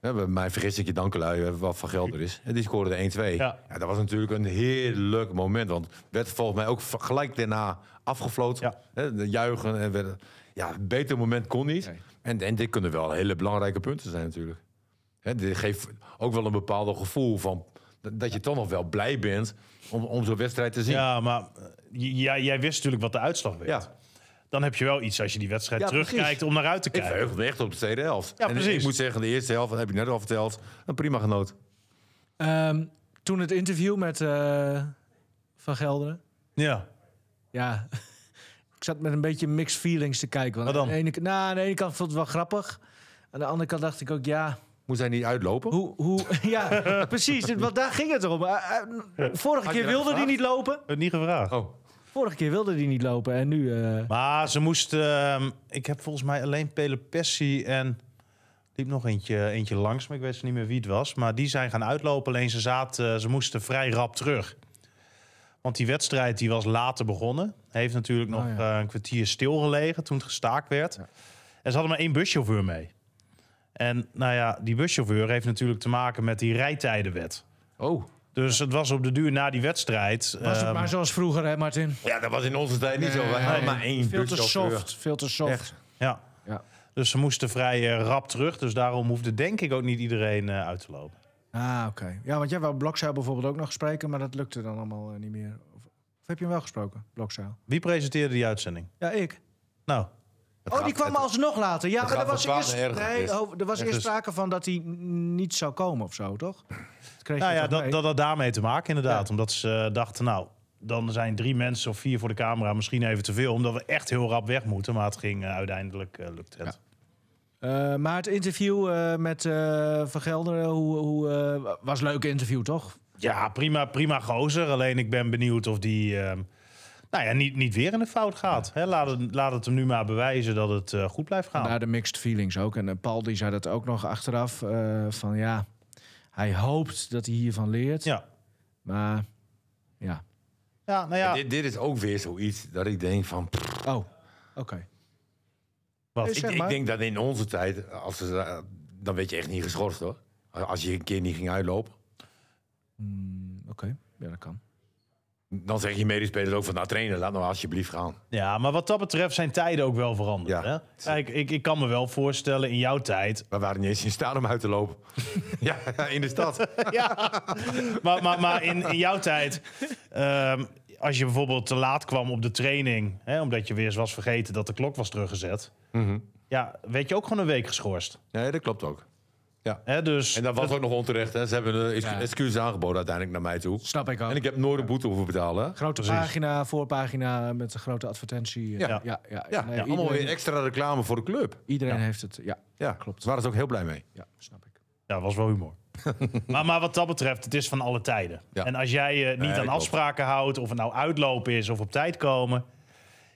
[SPEAKER 4] Ja, bij mij vergis ik je dankelui eh, wat van geld er is. En die scoorde de 1-2.
[SPEAKER 3] Ja.
[SPEAKER 4] Ja. dat was natuurlijk een heerlijk moment. Want werd volgens mij ook v- gelijk daarna afgefloten.
[SPEAKER 3] Ja.
[SPEAKER 4] Hè, de juichen. En werd, ja, een beter moment kon niet.
[SPEAKER 2] Nee.
[SPEAKER 4] En, en dit kunnen wel hele belangrijke punten zijn natuurlijk. Hè, dit geeft ook wel een bepaald gevoel van... dat dat je toch nog wel blij bent om, om zo'n wedstrijd te zien.
[SPEAKER 3] Ja, maar eh, j- jij- jij wist natuurlijk wat de uitslag werd.
[SPEAKER 4] Ja.
[SPEAKER 3] Dan heb je wel iets als je die wedstrijd
[SPEAKER 2] Ja,
[SPEAKER 3] terugkijkt
[SPEAKER 2] precies.
[SPEAKER 3] om naar uit te
[SPEAKER 4] Ik
[SPEAKER 3] kijken.
[SPEAKER 4] verheugde me echt op de tweede helft.
[SPEAKER 3] Ja,
[SPEAKER 4] en
[SPEAKER 3] precies.
[SPEAKER 4] ik moet zeggen, de eerste helft, dat heb ik net al verteld, een prima genoot.
[SPEAKER 2] Ehm, toen het interview met eh, Van Gelderen.
[SPEAKER 3] Ja.
[SPEAKER 2] Ja, (laughs) ik zat met een beetje mixed feelings te kijken. Want
[SPEAKER 3] Wat dan?
[SPEAKER 2] Aan, de ene, nou, aan de ene kant vond ik het wel grappig. Aan de andere kant dacht ik ook, ja,
[SPEAKER 4] Moest hij niet uitlopen?
[SPEAKER 2] hoe... hoe (laughs) ja, precies, want daar ging het om. Eh, eh, vorige
[SPEAKER 4] Had je
[SPEAKER 2] keer wilde
[SPEAKER 4] dat
[SPEAKER 2] die
[SPEAKER 4] gevraagd?
[SPEAKER 2] niet lopen.
[SPEAKER 3] Heb niet gevraagd.
[SPEAKER 4] Oh,
[SPEAKER 2] Vorige keer wilde die niet lopen en nu... eh,
[SPEAKER 3] Maar ze moesten. ehm, ik heb volgens mij alleen Pelopessi en. liep nog eentje, eentje langs, maar ik weet niet meer wie het was. Maar die zijn gaan uitlopen. Alleen ze, zaten, eh, ze moesten vrij rap terug. Want die wedstrijd die was later begonnen. Heeft natuurlijk nog
[SPEAKER 2] Oh, ja.
[SPEAKER 3] eh, een kwartier stilgelegen toen het gestaakt werd. En ze hadden maar één buschauffeur mee. En nou ja, die buschauffeur heeft natuurlijk te maken met die rijtijdenwet.
[SPEAKER 4] oh.
[SPEAKER 3] Dus het was op de duur na die wedstrijd.
[SPEAKER 2] was het
[SPEAKER 3] ehm,
[SPEAKER 2] maar zoals vroeger, hè, Martin?
[SPEAKER 4] Ja, dat was in onze tijd niet zo. Wij hadden maar één
[SPEAKER 2] Veel te
[SPEAKER 4] buschauffeur.
[SPEAKER 2] soft, veel te soft.
[SPEAKER 4] Echt.
[SPEAKER 3] Ja.
[SPEAKER 2] Ja.
[SPEAKER 3] Dus ze moesten vrij eh, rap terug. Dus daarom hoefde denk ik ook niet iedereen eh, uit te lopen.
[SPEAKER 2] Ah, oké. Ja, want jij wou Blokzuil bijvoorbeeld ook nog spreken, maar dat lukte dan allemaal eh, niet meer. Of, of heb je hem wel gesproken, Blokzuil?
[SPEAKER 3] Wie presenteerde die uitzending?
[SPEAKER 2] Ja, ik.
[SPEAKER 3] Nou,
[SPEAKER 4] Het
[SPEAKER 2] oh,
[SPEAKER 4] gaat-
[SPEAKER 2] die kwam
[SPEAKER 4] het-
[SPEAKER 2] alsnog later. Ja,
[SPEAKER 4] het
[SPEAKER 2] maar er
[SPEAKER 4] gaat
[SPEAKER 2] was,
[SPEAKER 4] van kwaad
[SPEAKER 2] eerst,
[SPEAKER 4] naar erger.
[SPEAKER 2] nee,
[SPEAKER 4] Eerst-
[SPEAKER 2] oh, er was eerst
[SPEAKER 3] ergens.
[SPEAKER 4] dus-
[SPEAKER 2] sprake van dat hij n- niet zou komen of zo, toch? Dat kreeg
[SPEAKER 3] nou
[SPEAKER 2] je
[SPEAKER 3] ja,
[SPEAKER 2] toch mee?
[SPEAKER 3] dat, dat had daarmee te maken inderdaad.
[SPEAKER 2] Ja.
[SPEAKER 3] Omdat ze eh, dachten, nou, dan zijn drie mensen of vier voor de camera misschien even te veel. Omdat we echt heel rap weg moeten. Maar het ging eh, uiteindelijk eh lukt het.
[SPEAKER 2] Eh, Eh, maar het interview eh, met eh, Van Gelder hoe, hoe, eh, was een leuk interview, toch?
[SPEAKER 3] Ja, prima, prima gozer. Alleen ik ben benieuwd of die ehm, nou ja, niet, niet weer in de fout gaat. Hè, laat, het, laat het hem nu maar bewijzen dat het eh, goed blijft gaan.
[SPEAKER 2] Daar de mixed feelings ook. En eh, Paul die zei dat ook nog achteraf. eh, van ja, hij hoopt dat hij hiervan leert.
[SPEAKER 3] Ja.
[SPEAKER 2] Maar ja.
[SPEAKER 3] ja, nou ja.
[SPEAKER 4] Dit, dit is ook weer zoiets dat ik denk van... pff,
[SPEAKER 2] Oh, oké.
[SPEAKER 3] Wat?
[SPEAKER 2] Is-
[SPEAKER 4] ik,
[SPEAKER 2] Zeg
[SPEAKER 4] ik
[SPEAKER 2] maar.
[SPEAKER 4] denk dat in onze tijd, als ze, eh, dan werd je echt niet geschorst hoor. Als je een keer niet ging uitlopen.
[SPEAKER 2] Mm, oké, ja, dat kan.
[SPEAKER 4] Dan zeg je medespelers ook van, nou trainer, laat nou alsjeblieft gaan.
[SPEAKER 3] Ja, maar wat dat betreft zijn tijden ook wel veranderd.
[SPEAKER 4] Ja.
[SPEAKER 3] Hè? Kijk, ik, ik kan me wel voorstellen in jouw tijd.
[SPEAKER 4] We waren niet eens in staat om uit te lopen. (laughs) ja, in de stad.
[SPEAKER 3] Maar, maar, maar in, in jouw tijd. ehm, als je bijvoorbeeld te laat kwam op de training. Hè, omdat je weer eens was vergeten dat de klok was teruggezet.
[SPEAKER 4] Mhm.
[SPEAKER 3] Ja, werd je ook gewoon een week geschorst.
[SPEAKER 4] Nee, dat klopt ook.
[SPEAKER 3] Hè? Dus
[SPEAKER 4] En dat was ook nog onterecht. Hè. Ze hebben een
[SPEAKER 2] Ja.
[SPEAKER 4] excuus aangeboden uiteindelijk naar mij toe.
[SPEAKER 2] Snap ik ook.
[SPEAKER 4] En ik heb nooit een boete hoeven betalen. hè.
[SPEAKER 2] Grote
[SPEAKER 3] Precies.
[SPEAKER 2] pagina, voorpagina met een grote advertentie. eh.
[SPEAKER 4] Ja.
[SPEAKER 2] ja, ja, ja.
[SPEAKER 4] Ja,
[SPEAKER 2] Nee,
[SPEAKER 4] allemaal weer
[SPEAKER 2] iedereen
[SPEAKER 4] extra reclame voor de club.
[SPEAKER 2] iedereen heeft het. Ja,
[SPEAKER 4] Ja,
[SPEAKER 2] Klopt.
[SPEAKER 4] Daar waren ze ook heel blij mee.
[SPEAKER 2] ja, snap ik.
[SPEAKER 3] Ja, was wel
[SPEAKER 4] (laughs)
[SPEAKER 3] humor. maar, maar wat dat betreft, het is van alle tijden.
[SPEAKER 4] Ja.
[SPEAKER 3] En als jij je niet
[SPEAKER 4] Nee,
[SPEAKER 3] aan
[SPEAKER 4] klopt.
[SPEAKER 3] afspraken houdt, of het nou uitlopen is of op tijd komen,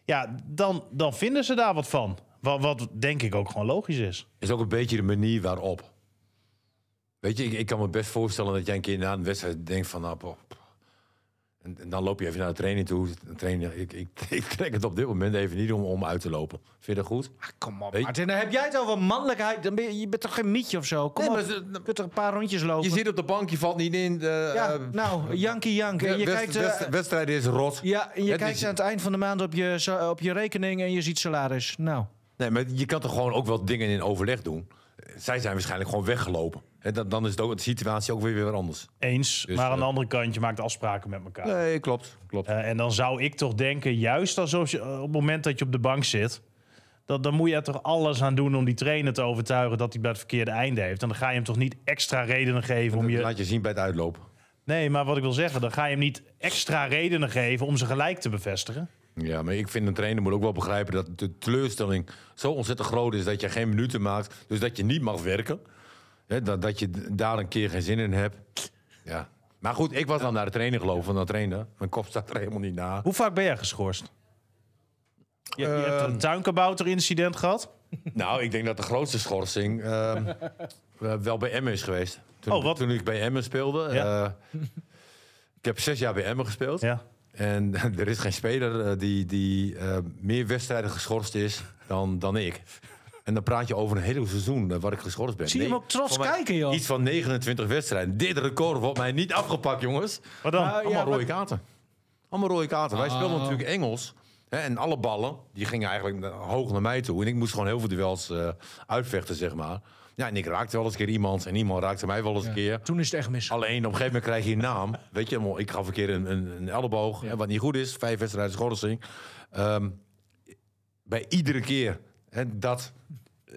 [SPEAKER 3] ja, dan, dan vinden ze daar wat van. Wat, wat denk ik ook gewoon logisch is.
[SPEAKER 4] Is ook een beetje de manier waarop. Weet je, ik, ik kan me best voorstellen dat jij een keer na een wedstrijd denkt van... Nou, poh, poh. en, en dan loop je even naar de trainer toe. De trainer, ik, ik, (laughs) ik trek het op dit moment even niet om, om uit te lopen. Vind je dat goed?
[SPEAKER 2] Ah, kom op,
[SPEAKER 4] Weet-
[SPEAKER 2] Martin. Dan heb jij het over mannelijkheid. Dan ben je, je bent toch geen mietje of zo? Kom
[SPEAKER 4] Nee,
[SPEAKER 2] op.
[SPEAKER 4] maar ze-
[SPEAKER 2] je kunt toch een paar rondjes lopen?
[SPEAKER 4] Je zit op de bank, je valt niet in. De,
[SPEAKER 2] ja,
[SPEAKER 4] eh,
[SPEAKER 2] nou, jankie jank. En je
[SPEAKER 4] wed-
[SPEAKER 2] kijkt, eh,
[SPEAKER 4] wed- wedstrijd is rot.
[SPEAKER 2] ja, en je
[SPEAKER 4] Het
[SPEAKER 2] kijkt
[SPEAKER 4] is-
[SPEAKER 2] aan het eind van de maand op je, sa- op je rekening en je ziet salaris. Nou,
[SPEAKER 4] Nee, maar je kan toch gewoon ook wel dingen in overleg doen. Zij zijn waarschijnlijk gewoon weggelopen. Hè, dan, dan is het ook, de situatie ook weer weer anders.
[SPEAKER 3] Eens,
[SPEAKER 4] Dus,
[SPEAKER 3] maar aan
[SPEAKER 4] eh,
[SPEAKER 3] de andere kant, je maakt afspraken met elkaar.
[SPEAKER 4] Nee, klopt. klopt.
[SPEAKER 3] Eh, en dan zou ik toch denken, juist alsof je, eh, op het moment dat je op de bank zit, dat, dan moet je er toch alles aan doen om die trainer te overtuigen dat hij bij het verkeerde einde heeft. En dan ga je hem toch niet extra redenen geven om
[SPEAKER 4] dat
[SPEAKER 3] je
[SPEAKER 4] laat je zien bij het uitlopen.
[SPEAKER 3] Nee, maar wat ik wil zeggen, dan ga je hem niet extra redenen geven om ze gelijk te bevestigen.
[SPEAKER 4] Ja, maar ik vind een trainer moet ook wel begrijpen dat de teleurstelling zo ontzettend groot is dat je geen minuten maakt. Dus dat je niet mag werken. Hè, dat, dat je d- daar een keer geen zin in hebt. Ja. Maar goed, ik was dan naar de trainer gelopen. Dan trainer. Mijn kop staat er helemaal niet na.
[SPEAKER 3] Hoe vaak ben jij geschorst? Je, je hebt
[SPEAKER 4] Ehm.
[SPEAKER 3] een tuinkabouter-incident gehad.
[SPEAKER 4] Nou, ik denk dat de grootste schorsing ehm, eh, wel bij Emmen is geweest. Toen,
[SPEAKER 3] Oh, wat?
[SPEAKER 4] toen ik bij Emmen speelde.
[SPEAKER 3] Ja.
[SPEAKER 4] eh, ik heb zes jaar bij Emmen gespeeld.
[SPEAKER 3] Ja.
[SPEAKER 4] En (laughs) er is geen speler eh, die, die eh, meer wedstrijden geschorst is dan, dan ik. En dan praat je over een hele seizoen eh, waar ik geschorst ben.
[SPEAKER 2] Zie je hem ook trots
[SPEAKER 4] voor mij
[SPEAKER 2] kijken, joh.
[SPEAKER 4] Iets van 29 wedstrijden. Dit record wordt mij niet afgepakt, jongens.
[SPEAKER 3] Wat dan?
[SPEAKER 2] Nou,
[SPEAKER 4] Allemaal
[SPEAKER 2] ja, Ah.
[SPEAKER 4] rode kaarten. Allemaal rode kaarten. Wij speelden natuurlijk Engels. Hè, en alle ballen, die gingen eigenlijk na- hoog naar mij toe. En ik moest gewoon heel veel duels eh, uitvechten, zeg maar. Ja, en ik raakte wel eens een keer iemand. En iemand raakte mij wel eens een keer.
[SPEAKER 2] toen is het echt mis.
[SPEAKER 4] Alleen op een gegeven moment krijg je een naam. Weet je, ik gaf een keer een, een, een elleboog. hè, Wat niet goed is, vijf wedstrijden schorsing. Ehm, bij iedere keer hè, dat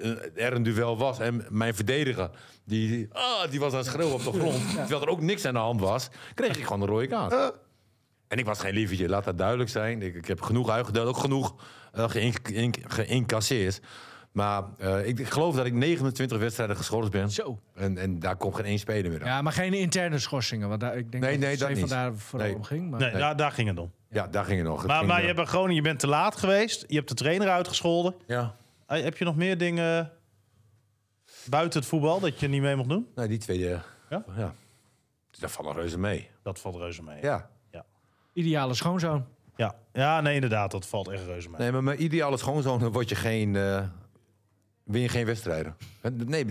[SPEAKER 4] eh, er een duel was. En mijn verdediger, die, ah, die was aan het schreeuwen op de grond. Terwijl er ook niks aan de hand was, kreeg ik gewoon een rode kaart. En ik was geen lievertje, laat dat duidelijk zijn. Ik, ik heb genoeg uitgedeeld, ook genoeg eh, geïn- in- geïncasseerd. Maar eh, ik, geloof dat ik 29 wedstrijden geschorst ben.
[SPEAKER 2] Zo.
[SPEAKER 4] En, en daar komt geen één speler meer aan.
[SPEAKER 2] Ja, maar geen interne schorsingen. Want daar, ik denk
[SPEAKER 4] Nee,
[SPEAKER 2] dat
[SPEAKER 4] nee,
[SPEAKER 2] het
[SPEAKER 4] dat
[SPEAKER 2] zeven
[SPEAKER 4] niet.
[SPEAKER 2] daar vooral
[SPEAKER 4] Nee.
[SPEAKER 2] om ging. Maar...
[SPEAKER 3] Nee, Daar, daar ging het om.
[SPEAKER 4] Ja, daar ging het nog. Het
[SPEAKER 3] Maar,
[SPEAKER 4] ging,
[SPEAKER 3] maar
[SPEAKER 4] eh,
[SPEAKER 3] je hebt bij Groningen, je bent te laat geweest. Je hebt de trainer uitgescholden.
[SPEAKER 4] Ja,
[SPEAKER 3] Eh, heb je nog meer dingen buiten het voetbal dat je niet mee mocht doen?
[SPEAKER 4] nee, die twee. eh,
[SPEAKER 3] Ja?
[SPEAKER 4] ja? Dus dat valt nog reuze mee.
[SPEAKER 3] Dat valt reuze mee.
[SPEAKER 4] Ja.
[SPEAKER 2] Ideale schoonzoon.
[SPEAKER 3] ja. Ja, nee, inderdaad, dat valt echt reuze mee.
[SPEAKER 4] Nee, maar mijn ideale schoonzoon dan word je geen, eh, win je geen wedstrijden. Eh, Nee,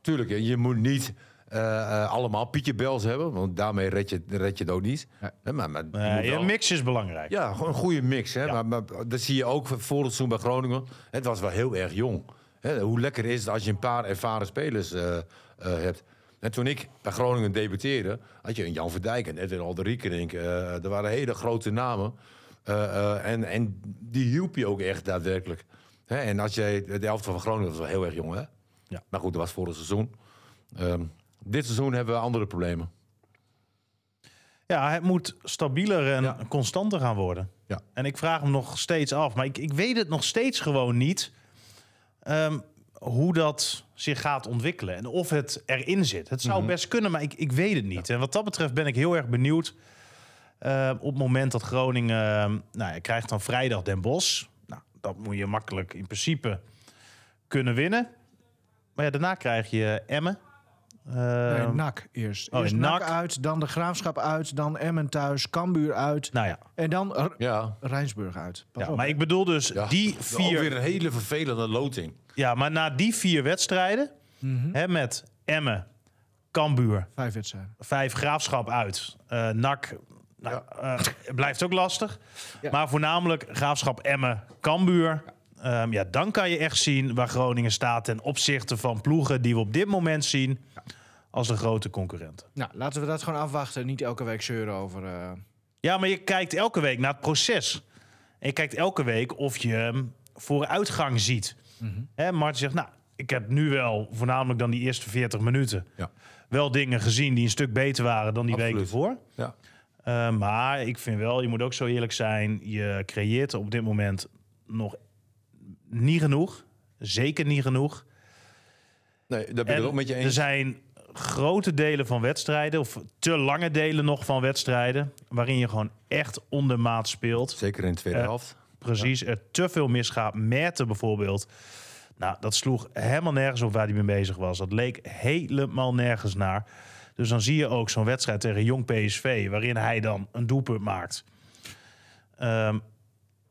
[SPEAKER 4] tuurlijk, je moet niet eh, eh, allemaal Pietje Bels hebben, want daarmee red je, red je het ook niet.
[SPEAKER 2] Ja.
[SPEAKER 4] Hè, Maar, maar,
[SPEAKER 3] Nee,
[SPEAKER 4] je moet wel-
[SPEAKER 3] je mix is belangrijk.
[SPEAKER 4] Ja, gewoon een goede mix. Hè?
[SPEAKER 3] Ja.
[SPEAKER 4] Maar, maar dat zie je ook voor het seizoen bij Groningen. Het was wel heel erg jong. Hè, hoe lekker is het als je een paar ervaren spelers eh, eh, hebt. En toen ik bij Groningen debuteerde, had je een Jan Verdijk en Edwin Alderiekerink. eh er waren hele grote namen. Eh, eh, en, en die hielp je ook echt daadwerkelijk. Hè, en als jij de helft van Groningen was wel heel erg jong, hè?
[SPEAKER 3] Ja.
[SPEAKER 4] Maar goed, dat was vorig seizoen. Ehm, dit seizoen hebben we andere problemen.
[SPEAKER 3] Ja, het moet stabieler en
[SPEAKER 4] Ja.
[SPEAKER 3] constanter gaan worden.
[SPEAKER 4] Ja.
[SPEAKER 3] En ik vraag hem nog steeds af, maar ik, ik weet het nog steeds gewoon niet. Ehm, hoe dat zich gaat ontwikkelen en of het erin zit. Het zou
[SPEAKER 4] Mhm.
[SPEAKER 3] best kunnen, maar ik, ik weet het niet. En wat dat betreft ben ik heel erg benieuwd eh, op het moment dat Groningen... eh, nou, je krijgt dan vrijdag Den Bosch. Nou, dat moet je makkelijk in principe kunnen winnen. Maar ja, daarna krijg je Emmen. Eh,
[SPEAKER 4] Ehm,
[SPEAKER 2] nee, NAC eerst.
[SPEAKER 3] oh,
[SPEAKER 2] eerst NAC
[SPEAKER 3] NAC.
[SPEAKER 2] uit, dan de Graafschap uit, dan Emmen thuis, Cambuur uit.
[SPEAKER 3] nou ja,
[SPEAKER 2] En dan R-
[SPEAKER 4] Ja.
[SPEAKER 2] Rijnsburg uit. Pas
[SPEAKER 3] ja,
[SPEAKER 2] op.
[SPEAKER 3] maar ik bedoel dus
[SPEAKER 4] ja.
[SPEAKER 3] die vier...
[SPEAKER 4] Alweer een hele vervelende loting.
[SPEAKER 3] Ja, maar na die vier wedstrijden, hè, met Emmen, Cambuur,
[SPEAKER 2] Vijf wedstrijden.
[SPEAKER 3] vijf graafschap uit, eh NAC, nou, eh, blijft ook lastig. Maar voornamelijk graafschap Emmen, Cambuur. Ja. ja, dan kan je echt zien waar Groningen staat ten opzichte van ploegen die we op dit moment zien als de grote concurrenten.
[SPEAKER 2] Nou, laten we dat gewoon afwachten. Niet elke week zeuren over... eh,
[SPEAKER 3] Ja, maar je kijkt elke week naar het proces. En je kijkt elke week of je ehm, vooruitgang ziet.
[SPEAKER 4] Mhm.
[SPEAKER 3] Hè, Martin zegt, nou, ik heb nu wel voornamelijk dan die eerste 40 minuten...
[SPEAKER 4] Ja.
[SPEAKER 3] wel dingen gezien die een stuk beter waren dan die week
[SPEAKER 4] Absoluut.
[SPEAKER 3] ervoor.
[SPEAKER 4] Ja.
[SPEAKER 3] Eh, maar ik vind wel, je moet ook zo eerlijk zijn... je creëert op dit moment nog niet genoeg. Zeker niet genoeg.
[SPEAKER 4] Nee, daar ben ik
[SPEAKER 3] En
[SPEAKER 4] het ook met je
[SPEAKER 3] Er
[SPEAKER 4] eens.
[SPEAKER 3] zijn grote delen van wedstrijden... of te lange delen nog van wedstrijden... waarin je gewoon echt ondermaat speelt...
[SPEAKER 4] Zeker in de tweede
[SPEAKER 3] Eh,
[SPEAKER 4] helft.
[SPEAKER 3] Precies, er te veel misgaat. Merten bijvoorbeeld. Nou, dat sloeg helemaal nergens op waar hij mee bezig was. Dat leek helemaal nergens naar. Dus dan zie je ook zo'n wedstrijd tegen Jong PSV... waarin hij dan een doelpunt maakt. Ehm,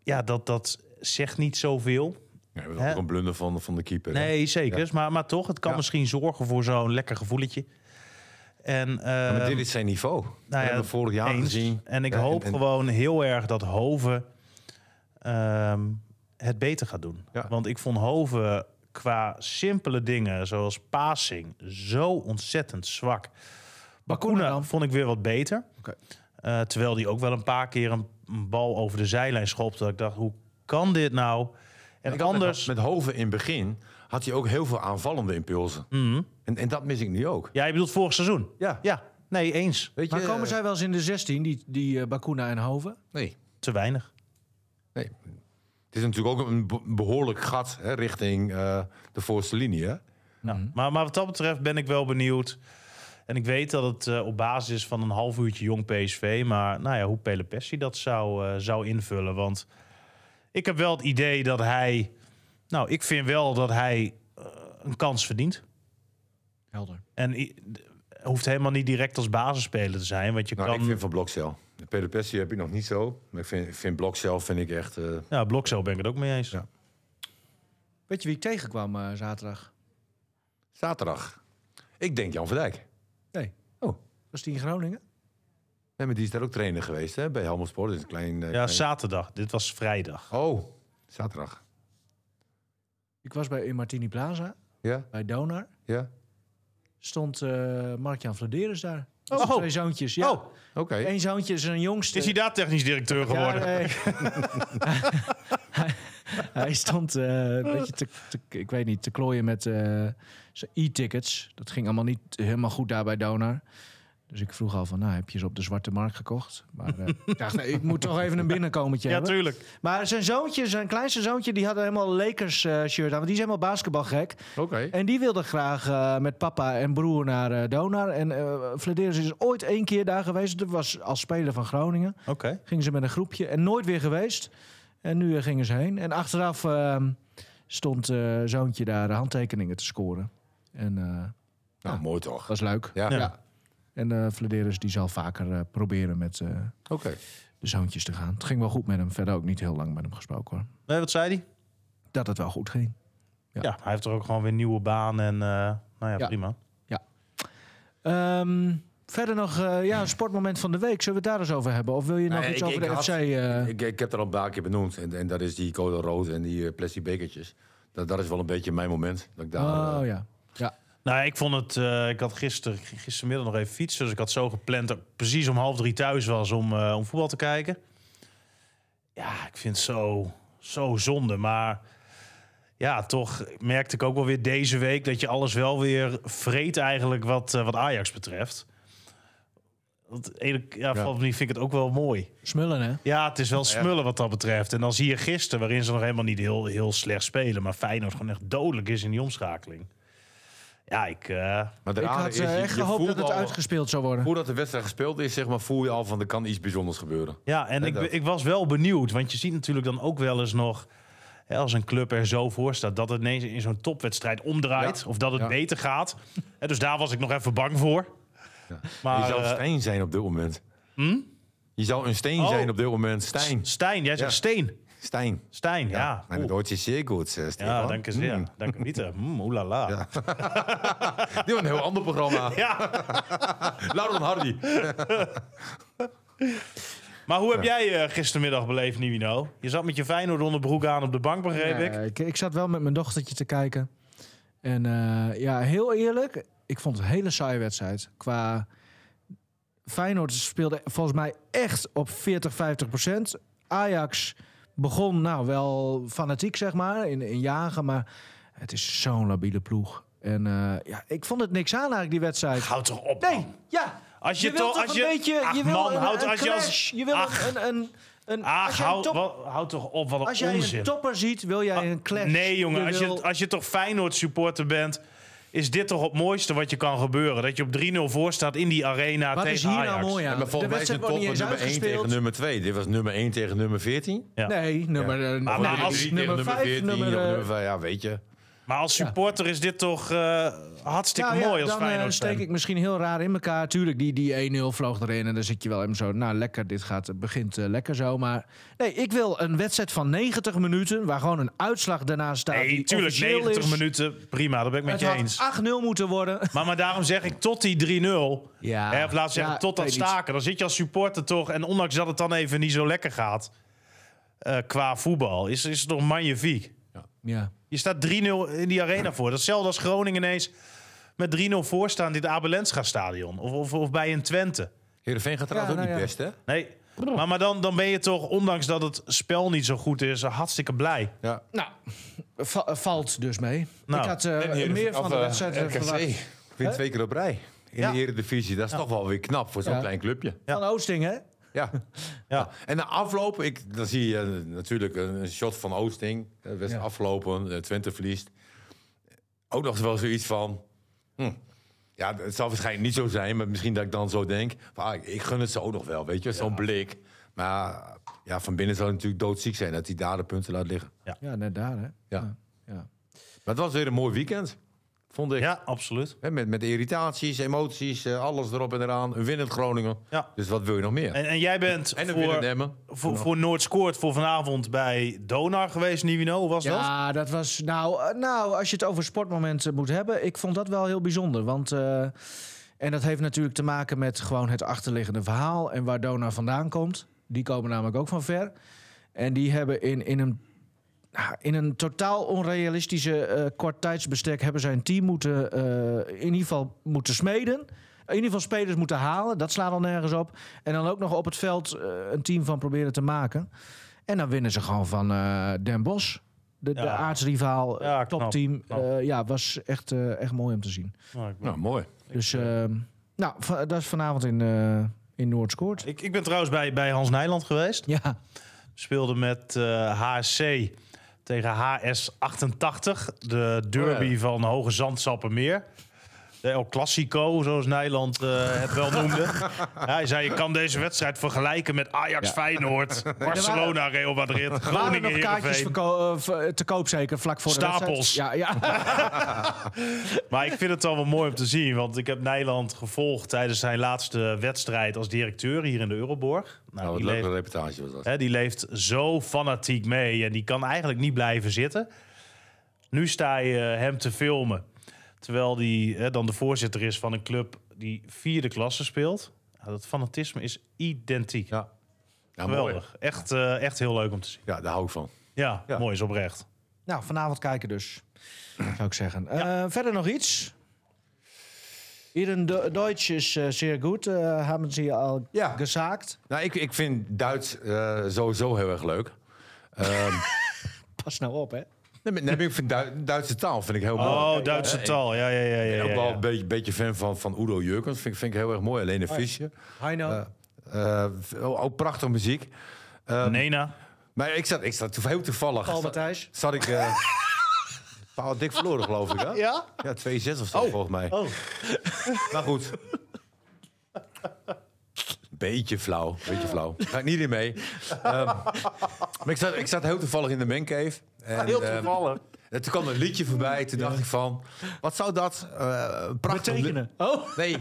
[SPEAKER 3] ja, dat, dat zegt niet zoveel.
[SPEAKER 4] Nee, dat was ook
[SPEAKER 3] hè?
[SPEAKER 4] een blunder van, van de keeper. hè?
[SPEAKER 3] Nee, zeker. Maar, maar toch, het kan misschien zorgen voor zo'n lekker gevoeletje. En,
[SPEAKER 4] Maar
[SPEAKER 3] ehm,
[SPEAKER 4] dit is zijn niveau. dat hebben we vorig jaar
[SPEAKER 3] Nou eens.
[SPEAKER 4] gezien.
[SPEAKER 3] En ik
[SPEAKER 4] Ja,
[SPEAKER 3] hoop
[SPEAKER 4] en-
[SPEAKER 3] gewoon heel erg dat Hoven ehm, het beter gaat doen.
[SPEAKER 4] Ja.
[SPEAKER 3] Want ik vond Hoven qua simpele dingen, zoals passing, zo ontzettend zwak.
[SPEAKER 2] Bakuna
[SPEAKER 3] Bakuna
[SPEAKER 2] dan?
[SPEAKER 3] vond ik weer wat beter.
[SPEAKER 2] Oké.
[SPEAKER 3] Eh, terwijl die ook wel een paar keer een een bal over de zijlijn schopte. Dat ik dacht, hoe kan dit nou? En
[SPEAKER 4] Ik had met-
[SPEAKER 3] anders...
[SPEAKER 4] Met, Hoven in het begin had hij ook heel veel aanvallende impulsen.
[SPEAKER 3] Mhm.
[SPEAKER 4] En, en dat mis ik nu ook.
[SPEAKER 3] Ja, je bedoelt vorig seizoen?
[SPEAKER 4] Ja.
[SPEAKER 3] Ja, nee, eens.
[SPEAKER 4] Weet je,
[SPEAKER 2] Maar komen
[SPEAKER 4] eh,
[SPEAKER 2] zij wel eens in de 16, die, die eh, Bakuna en Hoven?
[SPEAKER 4] Nee,
[SPEAKER 3] Te weinig.
[SPEAKER 4] nee. Het is natuurlijk ook een be- behoorlijk gat hè, richting eh, de voorste linie. Hè?
[SPEAKER 3] Nou, maar, maar wat dat betreft ben ik wel benieuwd. En ik weet dat het eh, op basis is van een half uurtje jong PSV. Maar nou ja, hoe Pele Pessi dat zou, eh, zou invullen. Want ik heb wel het idee dat hij... Nou, ik vind wel dat hij eh, een kans verdient.
[SPEAKER 2] Helder.
[SPEAKER 3] En i- d- hoeft helemaal niet direct als basisspeler te zijn. Want je
[SPEAKER 4] Nou,
[SPEAKER 3] kan...
[SPEAKER 4] ik vind van Blokcel. De Peter Pessi heb ik nog niet zo. Maar ik vind, ik vind Blokcel vind ik echt... eh,
[SPEAKER 3] Ja, Blokzo ben ik het ook mee eens.
[SPEAKER 4] Ja.
[SPEAKER 2] Weet je wie ik tegenkwam eh, zaterdag?
[SPEAKER 4] zaterdag. Ik denk Jan van Dijk.
[SPEAKER 2] Nee.
[SPEAKER 4] Oh.
[SPEAKER 2] Was die in Groningen?
[SPEAKER 4] Nee, maar die is daar ook trainer geweest hè, bij Helmond Sport. Dat is een klein... eh,
[SPEAKER 3] Ja,
[SPEAKER 4] klein-
[SPEAKER 3] zaterdag. Dit was vrijdag.
[SPEAKER 4] Oh, zaterdag.
[SPEAKER 2] Ik was bij in Martini Plaza,
[SPEAKER 4] Ja,
[SPEAKER 2] bij Donar.
[SPEAKER 4] ja.
[SPEAKER 2] Stond eh Mark-Jan Vladeris daar. Met
[SPEAKER 3] Oh.
[SPEAKER 2] zijn twee zoontjes. Ja.
[SPEAKER 3] Oh.
[SPEAKER 4] Oké.
[SPEAKER 2] Eén zoontje is een jongste.
[SPEAKER 3] Is hij daar technisch directeur
[SPEAKER 2] Ja,
[SPEAKER 3] geworden?
[SPEAKER 2] nee. hij, (laughs) hij stond eh, een beetje te, te- ik weet niet, te klooien met eh, zijn e-tickets. Dat ging allemaal niet helemaal goed daar bij Donar. Dus ik vroeg al van, nou, heb je ze op de zwarte markt gekocht? Maar eh, ik dacht, nee, ik moet toch even een binnenkomertje
[SPEAKER 3] ja,
[SPEAKER 2] hebben.
[SPEAKER 3] tuurlijk.
[SPEAKER 2] Maar zijn zoontje, zijn kleinste zoontje, die had helemaal Lakers eh, shirt aan. Want die is helemaal basketbalgek.
[SPEAKER 4] Oké.
[SPEAKER 2] En die wilde graag eh, met papa en broer naar eh, Donar. En eh Vladeris is ooit één keer daar geweest. Dat was als speler van Groningen
[SPEAKER 3] Oké.
[SPEAKER 2] gingen ze met een groepje en nooit weer geweest. En nu eh, gingen ze heen. En achteraf ehm, stond eh, zoontje daar handtekeningen te scoren. En eh
[SPEAKER 4] Nou,
[SPEAKER 2] Ja.
[SPEAKER 4] mooi toch.
[SPEAKER 2] was leuk.
[SPEAKER 4] Ja,
[SPEAKER 3] Ja.
[SPEAKER 2] En eh Vladeris die zal vaker eh, proberen met eh,
[SPEAKER 4] oké.
[SPEAKER 2] de zoontjes te gaan. Het ging wel goed met hem. Verder ook niet heel lang met hem gesproken hoor.
[SPEAKER 3] Nee, wat zei hij?
[SPEAKER 2] Dat het wel goed ging.
[SPEAKER 3] Ja. hij heeft er ook gewoon weer een nieuwe baan en eh, nou ja,
[SPEAKER 2] Ja.
[SPEAKER 3] prima.
[SPEAKER 2] Ehm, verder nog, eh, ja, een sportmoment van de week. Zullen we het daar eens over hebben? Of wil je nog
[SPEAKER 4] Nee,
[SPEAKER 2] iets
[SPEAKER 4] Nou, ik-
[SPEAKER 2] over
[SPEAKER 4] ik
[SPEAKER 2] de
[SPEAKER 4] had-
[SPEAKER 2] FC? eh?
[SPEAKER 4] Ik, ik heb er al een paar keer benoemd. En, en dat is die code rood en die eh, plastic bekertjes. Dat, dat is wel een beetje mijn moment. Dat ik daar, eh,
[SPEAKER 2] oh ja.
[SPEAKER 3] Nou, ik vond het. eh, ik had gisteren, gistermiddag nog even fietsen. Dus ik had zo gepland dat ik precies om half drie thuis was om, eh, om voetbal te kijken. Ja, ik vind het zo, zo zonde. Maar ja, toch merkte ik ook wel weer deze week dat je alles wel weer vreet eigenlijk wat, eh, wat Ajax betreft. Want ene, ja, op een andere manier vind ik het ook wel mooi.
[SPEAKER 2] Smullen, hè?
[SPEAKER 3] Ja, het is wel smullen wat dat betreft. En dan zie je gisteren, waarin ze nog helemaal niet heel, heel slecht spelen. Maar Feyenoord gewoon echt dodelijk is in die omschakeling. Ja, ik... eh,
[SPEAKER 4] Maar de
[SPEAKER 5] Ik
[SPEAKER 4] rare
[SPEAKER 5] had
[SPEAKER 4] is,
[SPEAKER 5] eh,
[SPEAKER 4] je-
[SPEAKER 5] echt
[SPEAKER 4] je
[SPEAKER 5] gehoopt dat
[SPEAKER 4] voelt
[SPEAKER 5] het
[SPEAKER 4] al-
[SPEAKER 5] uitgespeeld zou worden.
[SPEAKER 4] Voordat de wedstrijd gespeeld is, zeg maar, voel je al van er kan iets bijzonders gebeuren.
[SPEAKER 3] Ja, en
[SPEAKER 4] Hè,
[SPEAKER 3] ik,
[SPEAKER 4] dat.
[SPEAKER 3] ik was wel benieuwd. Want je ziet natuurlijk dan ook wel eens nog... Hè, als een club er zo voor staat dat het ineens in zo'n topwedstrijd omdraait.
[SPEAKER 4] Ja.
[SPEAKER 3] Of dat het
[SPEAKER 4] Ja.
[SPEAKER 3] beter gaat. Hè, dus daar was ik nog even bang voor. Maar,
[SPEAKER 4] je zou
[SPEAKER 3] eh,
[SPEAKER 4] Stijn zijn op dit moment. Je zou een steen
[SPEAKER 3] Oh.
[SPEAKER 4] zijn op dit moment. Stijn.
[SPEAKER 3] Stijn, jij zegt
[SPEAKER 4] Ja.
[SPEAKER 3] Steen.
[SPEAKER 4] Stijn.
[SPEAKER 3] Stijn, ja.
[SPEAKER 4] Mijn
[SPEAKER 3] Oeh.
[SPEAKER 4] Duits is zeer goed, eh, Stefan.
[SPEAKER 3] Ja, dank je zeer.
[SPEAKER 4] Mm.
[SPEAKER 3] Dank je Mieter. Mm, oelala. Ja.
[SPEAKER 4] Dit was een heel ander
[SPEAKER 2] (laughs)
[SPEAKER 4] programma. (laughs) Lauren Hardy.
[SPEAKER 3] Maar hoe heb jij eh, gistermiddag beleefd, Nivino? Je zat met je Feyenoord onderbroek aan op de bank, begreep ik.
[SPEAKER 2] Ja, eh, ik. Ik zat wel met mijn dochtertje te kijken. En eh, ja, heel eerlijk, ik vond het een hele saaie wedstrijd. Qua Feyenoord speelde volgens mij echt op 40, 50 procent. Ajax begon nou wel fanatiek, zeg maar, in, in jagen. Maar het is zo'n labiele ploeg. En eh, ja, ik vond het niks aan eigenlijk, die wedstrijd.
[SPEAKER 3] Houd toch op,
[SPEAKER 2] Nee,
[SPEAKER 3] man.
[SPEAKER 2] ja.
[SPEAKER 3] Als je
[SPEAKER 2] je wilt
[SPEAKER 3] toch-
[SPEAKER 2] toch
[SPEAKER 3] als
[SPEAKER 2] een
[SPEAKER 3] je-
[SPEAKER 2] beetje...
[SPEAKER 3] Ach,
[SPEAKER 2] je wil
[SPEAKER 3] man,
[SPEAKER 2] een,
[SPEAKER 3] houd-
[SPEAKER 2] een
[SPEAKER 3] als je als-
[SPEAKER 2] clash, je wil een-
[SPEAKER 3] Ach.
[SPEAKER 2] een... een, een als
[SPEAKER 3] Ach,
[SPEAKER 2] je een
[SPEAKER 3] hou,
[SPEAKER 2] top-
[SPEAKER 3] Ah, wel- hou toch op, wat een
[SPEAKER 2] als jij
[SPEAKER 3] onzin. Ah,
[SPEAKER 2] een topper ziet, wil jij een clash.
[SPEAKER 3] nee, jongen,
[SPEAKER 2] Je
[SPEAKER 3] als
[SPEAKER 2] wil-
[SPEAKER 3] je, als je toch Feyenoord supporter bent, is dit toch het mooiste wat je kan gebeuren? Dat je op 3-0 voor staat in die arena
[SPEAKER 2] Wat
[SPEAKER 3] tegen
[SPEAKER 2] is hier
[SPEAKER 3] Ajax.
[SPEAKER 2] nou mooi aan?
[SPEAKER 4] maar
[SPEAKER 2] de
[SPEAKER 4] volgens mij is
[SPEAKER 2] wedstrijd
[SPEAKER 4] het
[SPEAKER 2] wordt
[SPEAKER 4] top
[SPEAKER 2] niet eens
[SPEAKER 4] nummer 1
[SPEAKER 2] uitgespeeld.
[SPEAKER 4] tegen nummer 2. Dit was nummer 1 tegen nummer 14.
[SPEAKER 3] Ja.
[SPEAKER 2] Nee, nummer, eh,
[SPEAKER 3] Maar
[SPEAKER 2] nummer
[SPEAKER 3] als-
[SPEAKER 2] drie,
[SPEAKER 4] tegen
[SPEAKER 2] nummer
[SPEAKER 4] nummer
[SPEAKER 2] 5,
[SPEAKER 4] 14,
[SPEAKER 2] nummer...
[SPEAKER 4] of
[SPEAKER 2] eh,
[SPEAKER 4] nummer vijf, ja, weet je.
[SPEAKER 3] Maar als supporter is dit toch eh, hartstikke
[SPEAKER 2] nou ja,
[SPEAKER 3] mooi als
[SPEAKER 2] dan eh,
[SPEAKER 3] Feyenoord
[SPEAKER 2] steek ik misschien heel raar in elkaar. Tuurlijk, die, die 1-0 vloog erin en dan zit je wel even zo... Nou, lekker, dit gaat, het begint eh, lekker zo. Maar nee, ik wil een wedstrijd van 90 minuten... waar gewoon een uitslag daarna staat
[SPEAKER 3] Nee,
[SPEAKER 2] die
[SPEAKER 3] tuurlijk,
[SPEAKER 2] officieel
[SPEAKER 3] 90
[SPEAKER 2] is.
[SPEAKER 3] minuten, prima, daar ben ik met
[SPEAKER 2] Het
[SPEAKER 3] je
[SPEAKER 2] had
[SPEAKER 3] eens.
[SPEAKER 2] 8-0 moeten worden. (laughs)
[SPEAKER 3] Maar, maar daarom zeg ik tot die 3-0.
[SPEAKER 2] Ja.
[SPEAKER 3] Hè, of laat zeggen,
[SPEAKER 2] Ja,
[SPEAKER 3] tot dat
[SPEAKER 2] weet niet.
[SPEAKER 3] staken. Dan zit je als supporter toch. En ondanks dat het dan even niet zo lekker gaat. eh, qua voetbal. Is, is het toch magnifiek.
[SPEAKER 2] Ja.
[SPEAKER 3] Je staat 3-0 in die arena voor. Dat is hetzelfde als Groningen ineens met 3-0 voor staan. in het Abelenscha stadion. Of, of, of bij een Twente.
[SPEAKER 4] Heerenveen gaat trouwens
[SPEAKER 2] Ja,
[SPEAKER 4] ook
[SPEAKER 2] nou
[SPEAKER 4] niet best, hè?
[SPEAKER 3] Nee. Maar, maar dan, dan ben je toch, ondanks dat het spel niet zo goed is, hartstikke blij.
[SPEAKER 4] Ja.
[SPEAKER 2] Nou, va- eh, valt dus mee.
[SPEAKER 3] Nou,
[SPEAKER 2] ik had eh,
[SPEAKER 4] Heerenveen-
[SPEAKER 2] meer van
[SPEAKER 4] of,
[SPEAKER 2] de
[SPEAKER 4] eh,
[SPEAKER 2] wedstrijd
[SPEAKER 4] RKC
[SPEAKER 2] verwacht.
[SPEAKER 4] Wint twee keer op rij. In
[SPEAKER 3] Ja.
[SPEAKER 4] de Eredivisie. Dat is toch wel weer knap voor zo'n
[SPEAKER 2] Ja.
[SPEAKER 4] klein clubje.
[SPEAKER 2] Van Oosting, hè?
[SPEAKER 4] Ja.
[SPEAKER 3] Ja.
[SPEAKER 4] En na afloop, ik, dan zie je eh, natuurlijk een een shot van Oosting. Eh, Wedstrijd
[SPEAKER 2] Ja.
[SPEAKER 4] afgelopen, eh, Twente verliest. Ook nog wel zoiets van... hm, ja, het zal waarschijnlijk niet zo zijn, maar misschien dat ik dan zo denk... Van, ah, ik gun het ze ook nog wel, weet je, zo'n blik. Maar ja, van binnen zal het natuurlijk doodziek zijn dat hij daar de punten laat liggen.
[SPEAKER 2] Ja, net daar, hè?
[SPEAKER 4] Ja.
[SPEAKER 2] Ja.
[SPEAKER 4] Maar het was weer een mooi weekend, vond ik.
[SPEAKER 3] Ja, absoluut.
[SPEAKER 4] Hè, met, met irritaties, emoties, eh, alles erop en eraan. Een winnend Groningen.
[SPEAKER 3] Ja.
[SPEAKER 4] Dus wat wil je nog meer? En,
[SPEAKER 3] En, en jij bent
[SPEAKER 4] een winnend
[SPEAKER 3] voor,
[SPEAKER 4] Emmen.
[SPEAKER 3] voor, voor Noord Scoort voor vanavond bij Donar geweest, Nivino. Hoe was dat?
[SPEAKER 2] Ja, dat was. Nou, eh, nou, als je het over sportmomenten moet hebben, ik vond dat wel heel bijzonder. Want. eh, en dat heeft natuurlijk te maken met gewoon het achterliggende verhaal en waar Dona vandaan komt. Die komen namelijk ook van ver. En die hebben in, in, een, nou, in een totaal onrealistische eh kort tijdsbestek hebben zij een team moeten, eh, in ieder geval moeten smeden. In ieder geval spelers moeten halen. Dat slaat al nergens op. En dan ook nog op het veld eh, een team van proberen te maken. En dan winnen ze gewoon van eh Den Bosch. De, de
[SPEAKER 3] Ja.
[SPEAKER 2] aardsrivaal, eh,
[SPEAKER 3] Ja, knap,
[SPEAKER 2] topteam.
[SPEAKER 3] knap.
[SPEAKER 2] Eh, ja, was echt, eh, echt mooi om te zien.
[SPEAKER 3] Nou, ik eh, ben-
[SPEAKER 4] Nou, mooi.
[SPEAKER 2] Dus ehm, nou, va- dat is vanavond in, eh in Noordscoort.
[SPEAKER 3] Ik, ik ben trouwens bij, bij Hans Nijland geweest.
[SPEAKER 2] Ja,
[SPEAKER 3] speelde met eh, HSC tegen HS88, de derby
[SPEAKER 4] Oh ja.
[SPEAKER 3] van Hoge Zandsappenmeer. De El Clasico, zoals Nijland eh, het wel noemde.
[SPEAKER 2] (laughs)
[SPEAKER 3] Ja, hij zei, je kan deze wedstrijd vergelijken met Ajax
[SPEAKER 2] (laughs)
[SPEAKER 3] Feyenoord, Barcelona, Real Madrid,
[SPEAKER 2] waren er
[SPEAKER 3] Groningen,
[SPEAKER 2] nog kaartjes
[SPEAKER 3] Heerenveen.
[SPEAKER 2] verko- eh, ver- te koop zeker, vlak voor de
[SPEAKER 3] Stapels.
[SPEAKER 2] wedstrijd? Ja, ja.
[SPEAKER 3] Maar ik vind het al wel mooi om te zien, want ik heb Nijland gevolgd tijdens zijn laatste wedstrijd als directeur hier in de Euroborg.
[SPEAKER 2] Oh,
[SPEAKER 4] Nou, wat
[SPEAKER 3] die
[SPEAKER 4] een leuke
[SPEAKER 3] leeft-
[SPEAKER 4] reportage was dat.
[SPEAKER 3] Hè, die leeft zo fanatiek mee en die kan eigenlijk niet blijven zitten. Nu sta je eh, hem te filmen. Terwijl die hè, dan de voorzitter is van een club die vierde klasse speelt. Ja, dat fanatisme is identiek.
[SPEAKER 4] Ja. Ja, Nou, mooi.
[SPEAKER 3] Geweldig. Echt, eh, echt heel leuk om te zien.
[SPEAKER 4] Ja, daar hou ik van.
[SPEAKER 3] Ja, Oh,
[SPEAKER 4] Ja.
[SPEAKER 3] mooi is oprecht.
[SPEAKER 2] nou, vanavond
[SPEAKER 6] (clears throat)
[SPEAKER 2] kijken dus, zou ik zeggen. Eh, verder nog iets? Iedereen Do- Duits is eh, zeer goed, eh, hebben ze hier al
[SPEAKER 4] Ja.
[SPEAKER 2] gezaakt.
[SPEAKER 4] Nou, ik, ik vind Duits eh, sowieso heel erg leuk. Ehm,
[SPEAKER 2] Pas nou op, hè.
[SPEAKER 4] Nee, maar- nee, maar ik vind Du- Duitse taal vind ik heel mooi.
[SPEAKER 3] Oh, Duitse taal. Ja, ja, ja. ja,
[SPEAKER 4] Ik ben
[SPEAKER 3] ja,
[SPEAKER 4] ook wel
[SPEAKER 3] ja. Oh,
[SPEAKER 4] een beetje, beetje fan van, van Udo Jurkens. Vind, ik- vind ik heel erg mooi. Alleen een visje.
[SPEAKER 6] Heino.
[SPEAKER 4] Eh, ook, ook prachtige muziek. Eh,
[SPEAKER 3] Nena.
[SPEAKER 4] Maar ik zat, ik zat toe- heel toevallig.
[SPEAKER 6] Paul
[SPEAKER 4] zat-
[SPEAKER 6] Matthijs.
[SPEAKER 4] Zat
[SPEAKER 3] (laughs)
[SPEAKER 4] ik. eh Paul dik verloren, geloof ik. Hè?
[SPEAKER 3] Ja?
[SPEAKER 4] Ja, 2-6 of zo, volgens mij.
[SPEAKER 3] Oh.
[SPEAKER 4] (laughs) Maar goed. Beetje flauw, beetje flauw. Ga ik niet in mee. Ehm, maar ik zat, ik zat heel toevallig in de mancave. En,
[SPEAKER 3] Heel
[SPEAKER 4] ehm,
[SPEAKER 3] toevallig.
[SPEAKER 4] en toen kwam een liedje voorbij. Toen dacht ik van, wat zou dat eh, een prachtig li-
[SPEAKER 6] Betekenen. Oh,
[SPEAKER 4] Nee.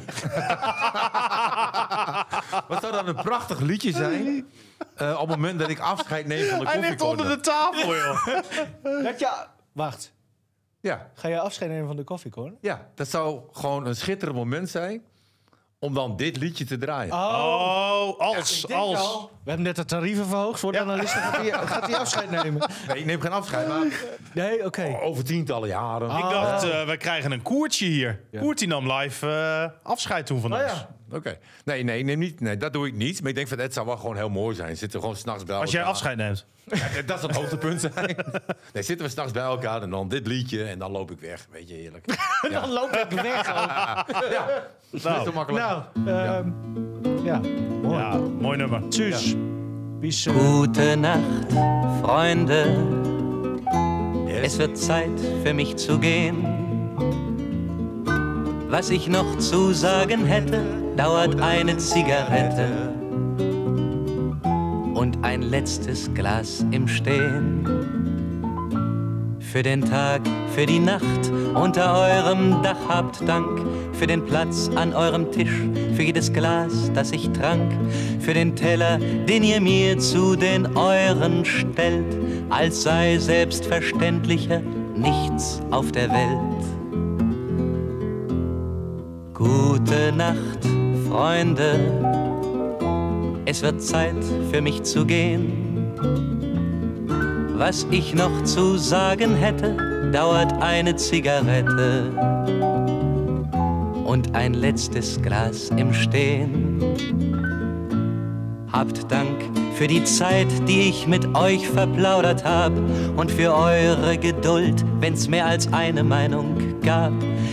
[SPEAKER 4] (laughs) wat zou dat een prachtig liedje zijn... eh, op het moment dat ik afscheid neem van de
[SPEAKER 3] Hij ligt onder
[SPEAKER 4] koffiekonen.
[SPEAKER 3] de tafel, joh.
[SPEAKER 6] dat (laughs) ja. Wacht.
[SPEAKER 4] Ja,
[SPEAKER 6] Ga jij afscheid nemen van de koffiekorn?
[SPEAKER 4] ja, dat zou gewoon een schitterend moment zijn... om dan dit liedje te draaien.
[SPEAKER 3] (laughs) Oh, als, als.
[SPEAKER 6] We hebben net de tarieven verhoogd voor de analisten. Gaat hij, (laughs) gaat hij afscheid nemen?
[SPEAKER 4] Nee, ik neem geen afscheid, maar
[SPEAKER 6] Nee, oké.
[SPEAKER 4] over tientallen jaren.
[SPEAKER 3] Ik dacht, eh, we krijgen een koertje hier. Koertje nam live eh, afscheid toen van
[SPEAKER 6] Nou
[SPEAKER 3] ons.
[SPEAKER 6] ja.
[SPEAKER 4] Oké. Nee, nee, neem niet, nee, dat doe ik niet. Maar ik denk van, het zou wel gewoon heel mooi zijn. Zitten we gewoon s'nachts bij
[SPEAKER 3] Als jij
[SPEAKER 4] elkaar.
[SPEAKER 3] afscheid neemt.
[SPEAKER 4] Ja, (laughs) dat zou het hoogtepunt zijn. (laughs) Nee, zitten we s'nachts bij elkaar en dan dit liedje en dan loop ik weg. Weet je,
[SPEAKER 3] (laughs)
[SPEAKER 4] heerlijk.
[SPEAKER 6] Dan loop ik weg. ook.
[SPEAKER 4] Niet te
[SPEAKER 3] Nou,
[SPEAKER 4] makkelijk.
[SPEAKER 6] Nou, ehm, ja. Mooi.
[SPEAKER 3] ja, mooi nummer.
[SPEAKER 6] Tjus. Wie is, eh,
[SPEAKER 7] Gute Nacht, Freunde. Es wird Zeit für mich zu gehen. Was ich noch zu sagen hätte, dauert eine Zigarette und ein letztes Glas im Stehen. Für den Tag, für die Nacht unter eurem Dach habt Dank. Für den Platz an eurem Tisch, für jedes Glas, das ich trank. Für den Teller, den ihr mir zu den euren stellt. Als sei selbstverständlicher nichts auf der Welt. Gute Nacht, Freunde. Es wird Zeit für mich zu gehen. Was ich noch zu sagen hätte, dauert eine Zigarette und ein letztes Glas im Stehen. Habt Dank für die Zeit, die ich mit euch verplaudert hab und für eure Geduld, wenn's mehr als eine Meinung gab.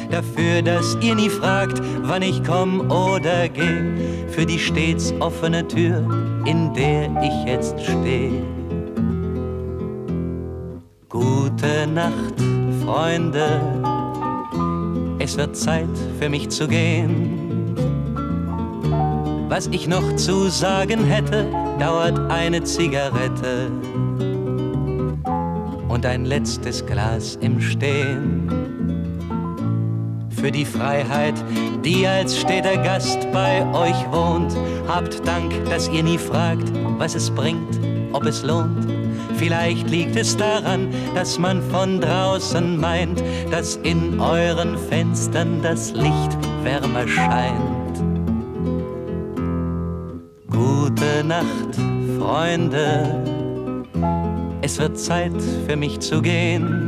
[SPEAKER 7] Dafür, dass ihr nie fragt, wann ich komm oder geh, für die stets offene Tür, in der ich jetzt steh. Gute Nacht, Freunde. Es wird Zeit für mich zu gehen. Was ich noch zu sagen hätte, dauert eine Zigarette und ein letztes Glas im Stehen für die Freiheit, die als steter Gast bei euch wohnt. Habt Dank, dass ihr nie fragt, was es bringt, ob es lohnt. Vielleicht liegt es daran, dass man von draußen meint, dass in euren Fenstern das Licht wärmer scheint. Gute Nacht, Freunde. Es wird Zeit für mich zu gehen.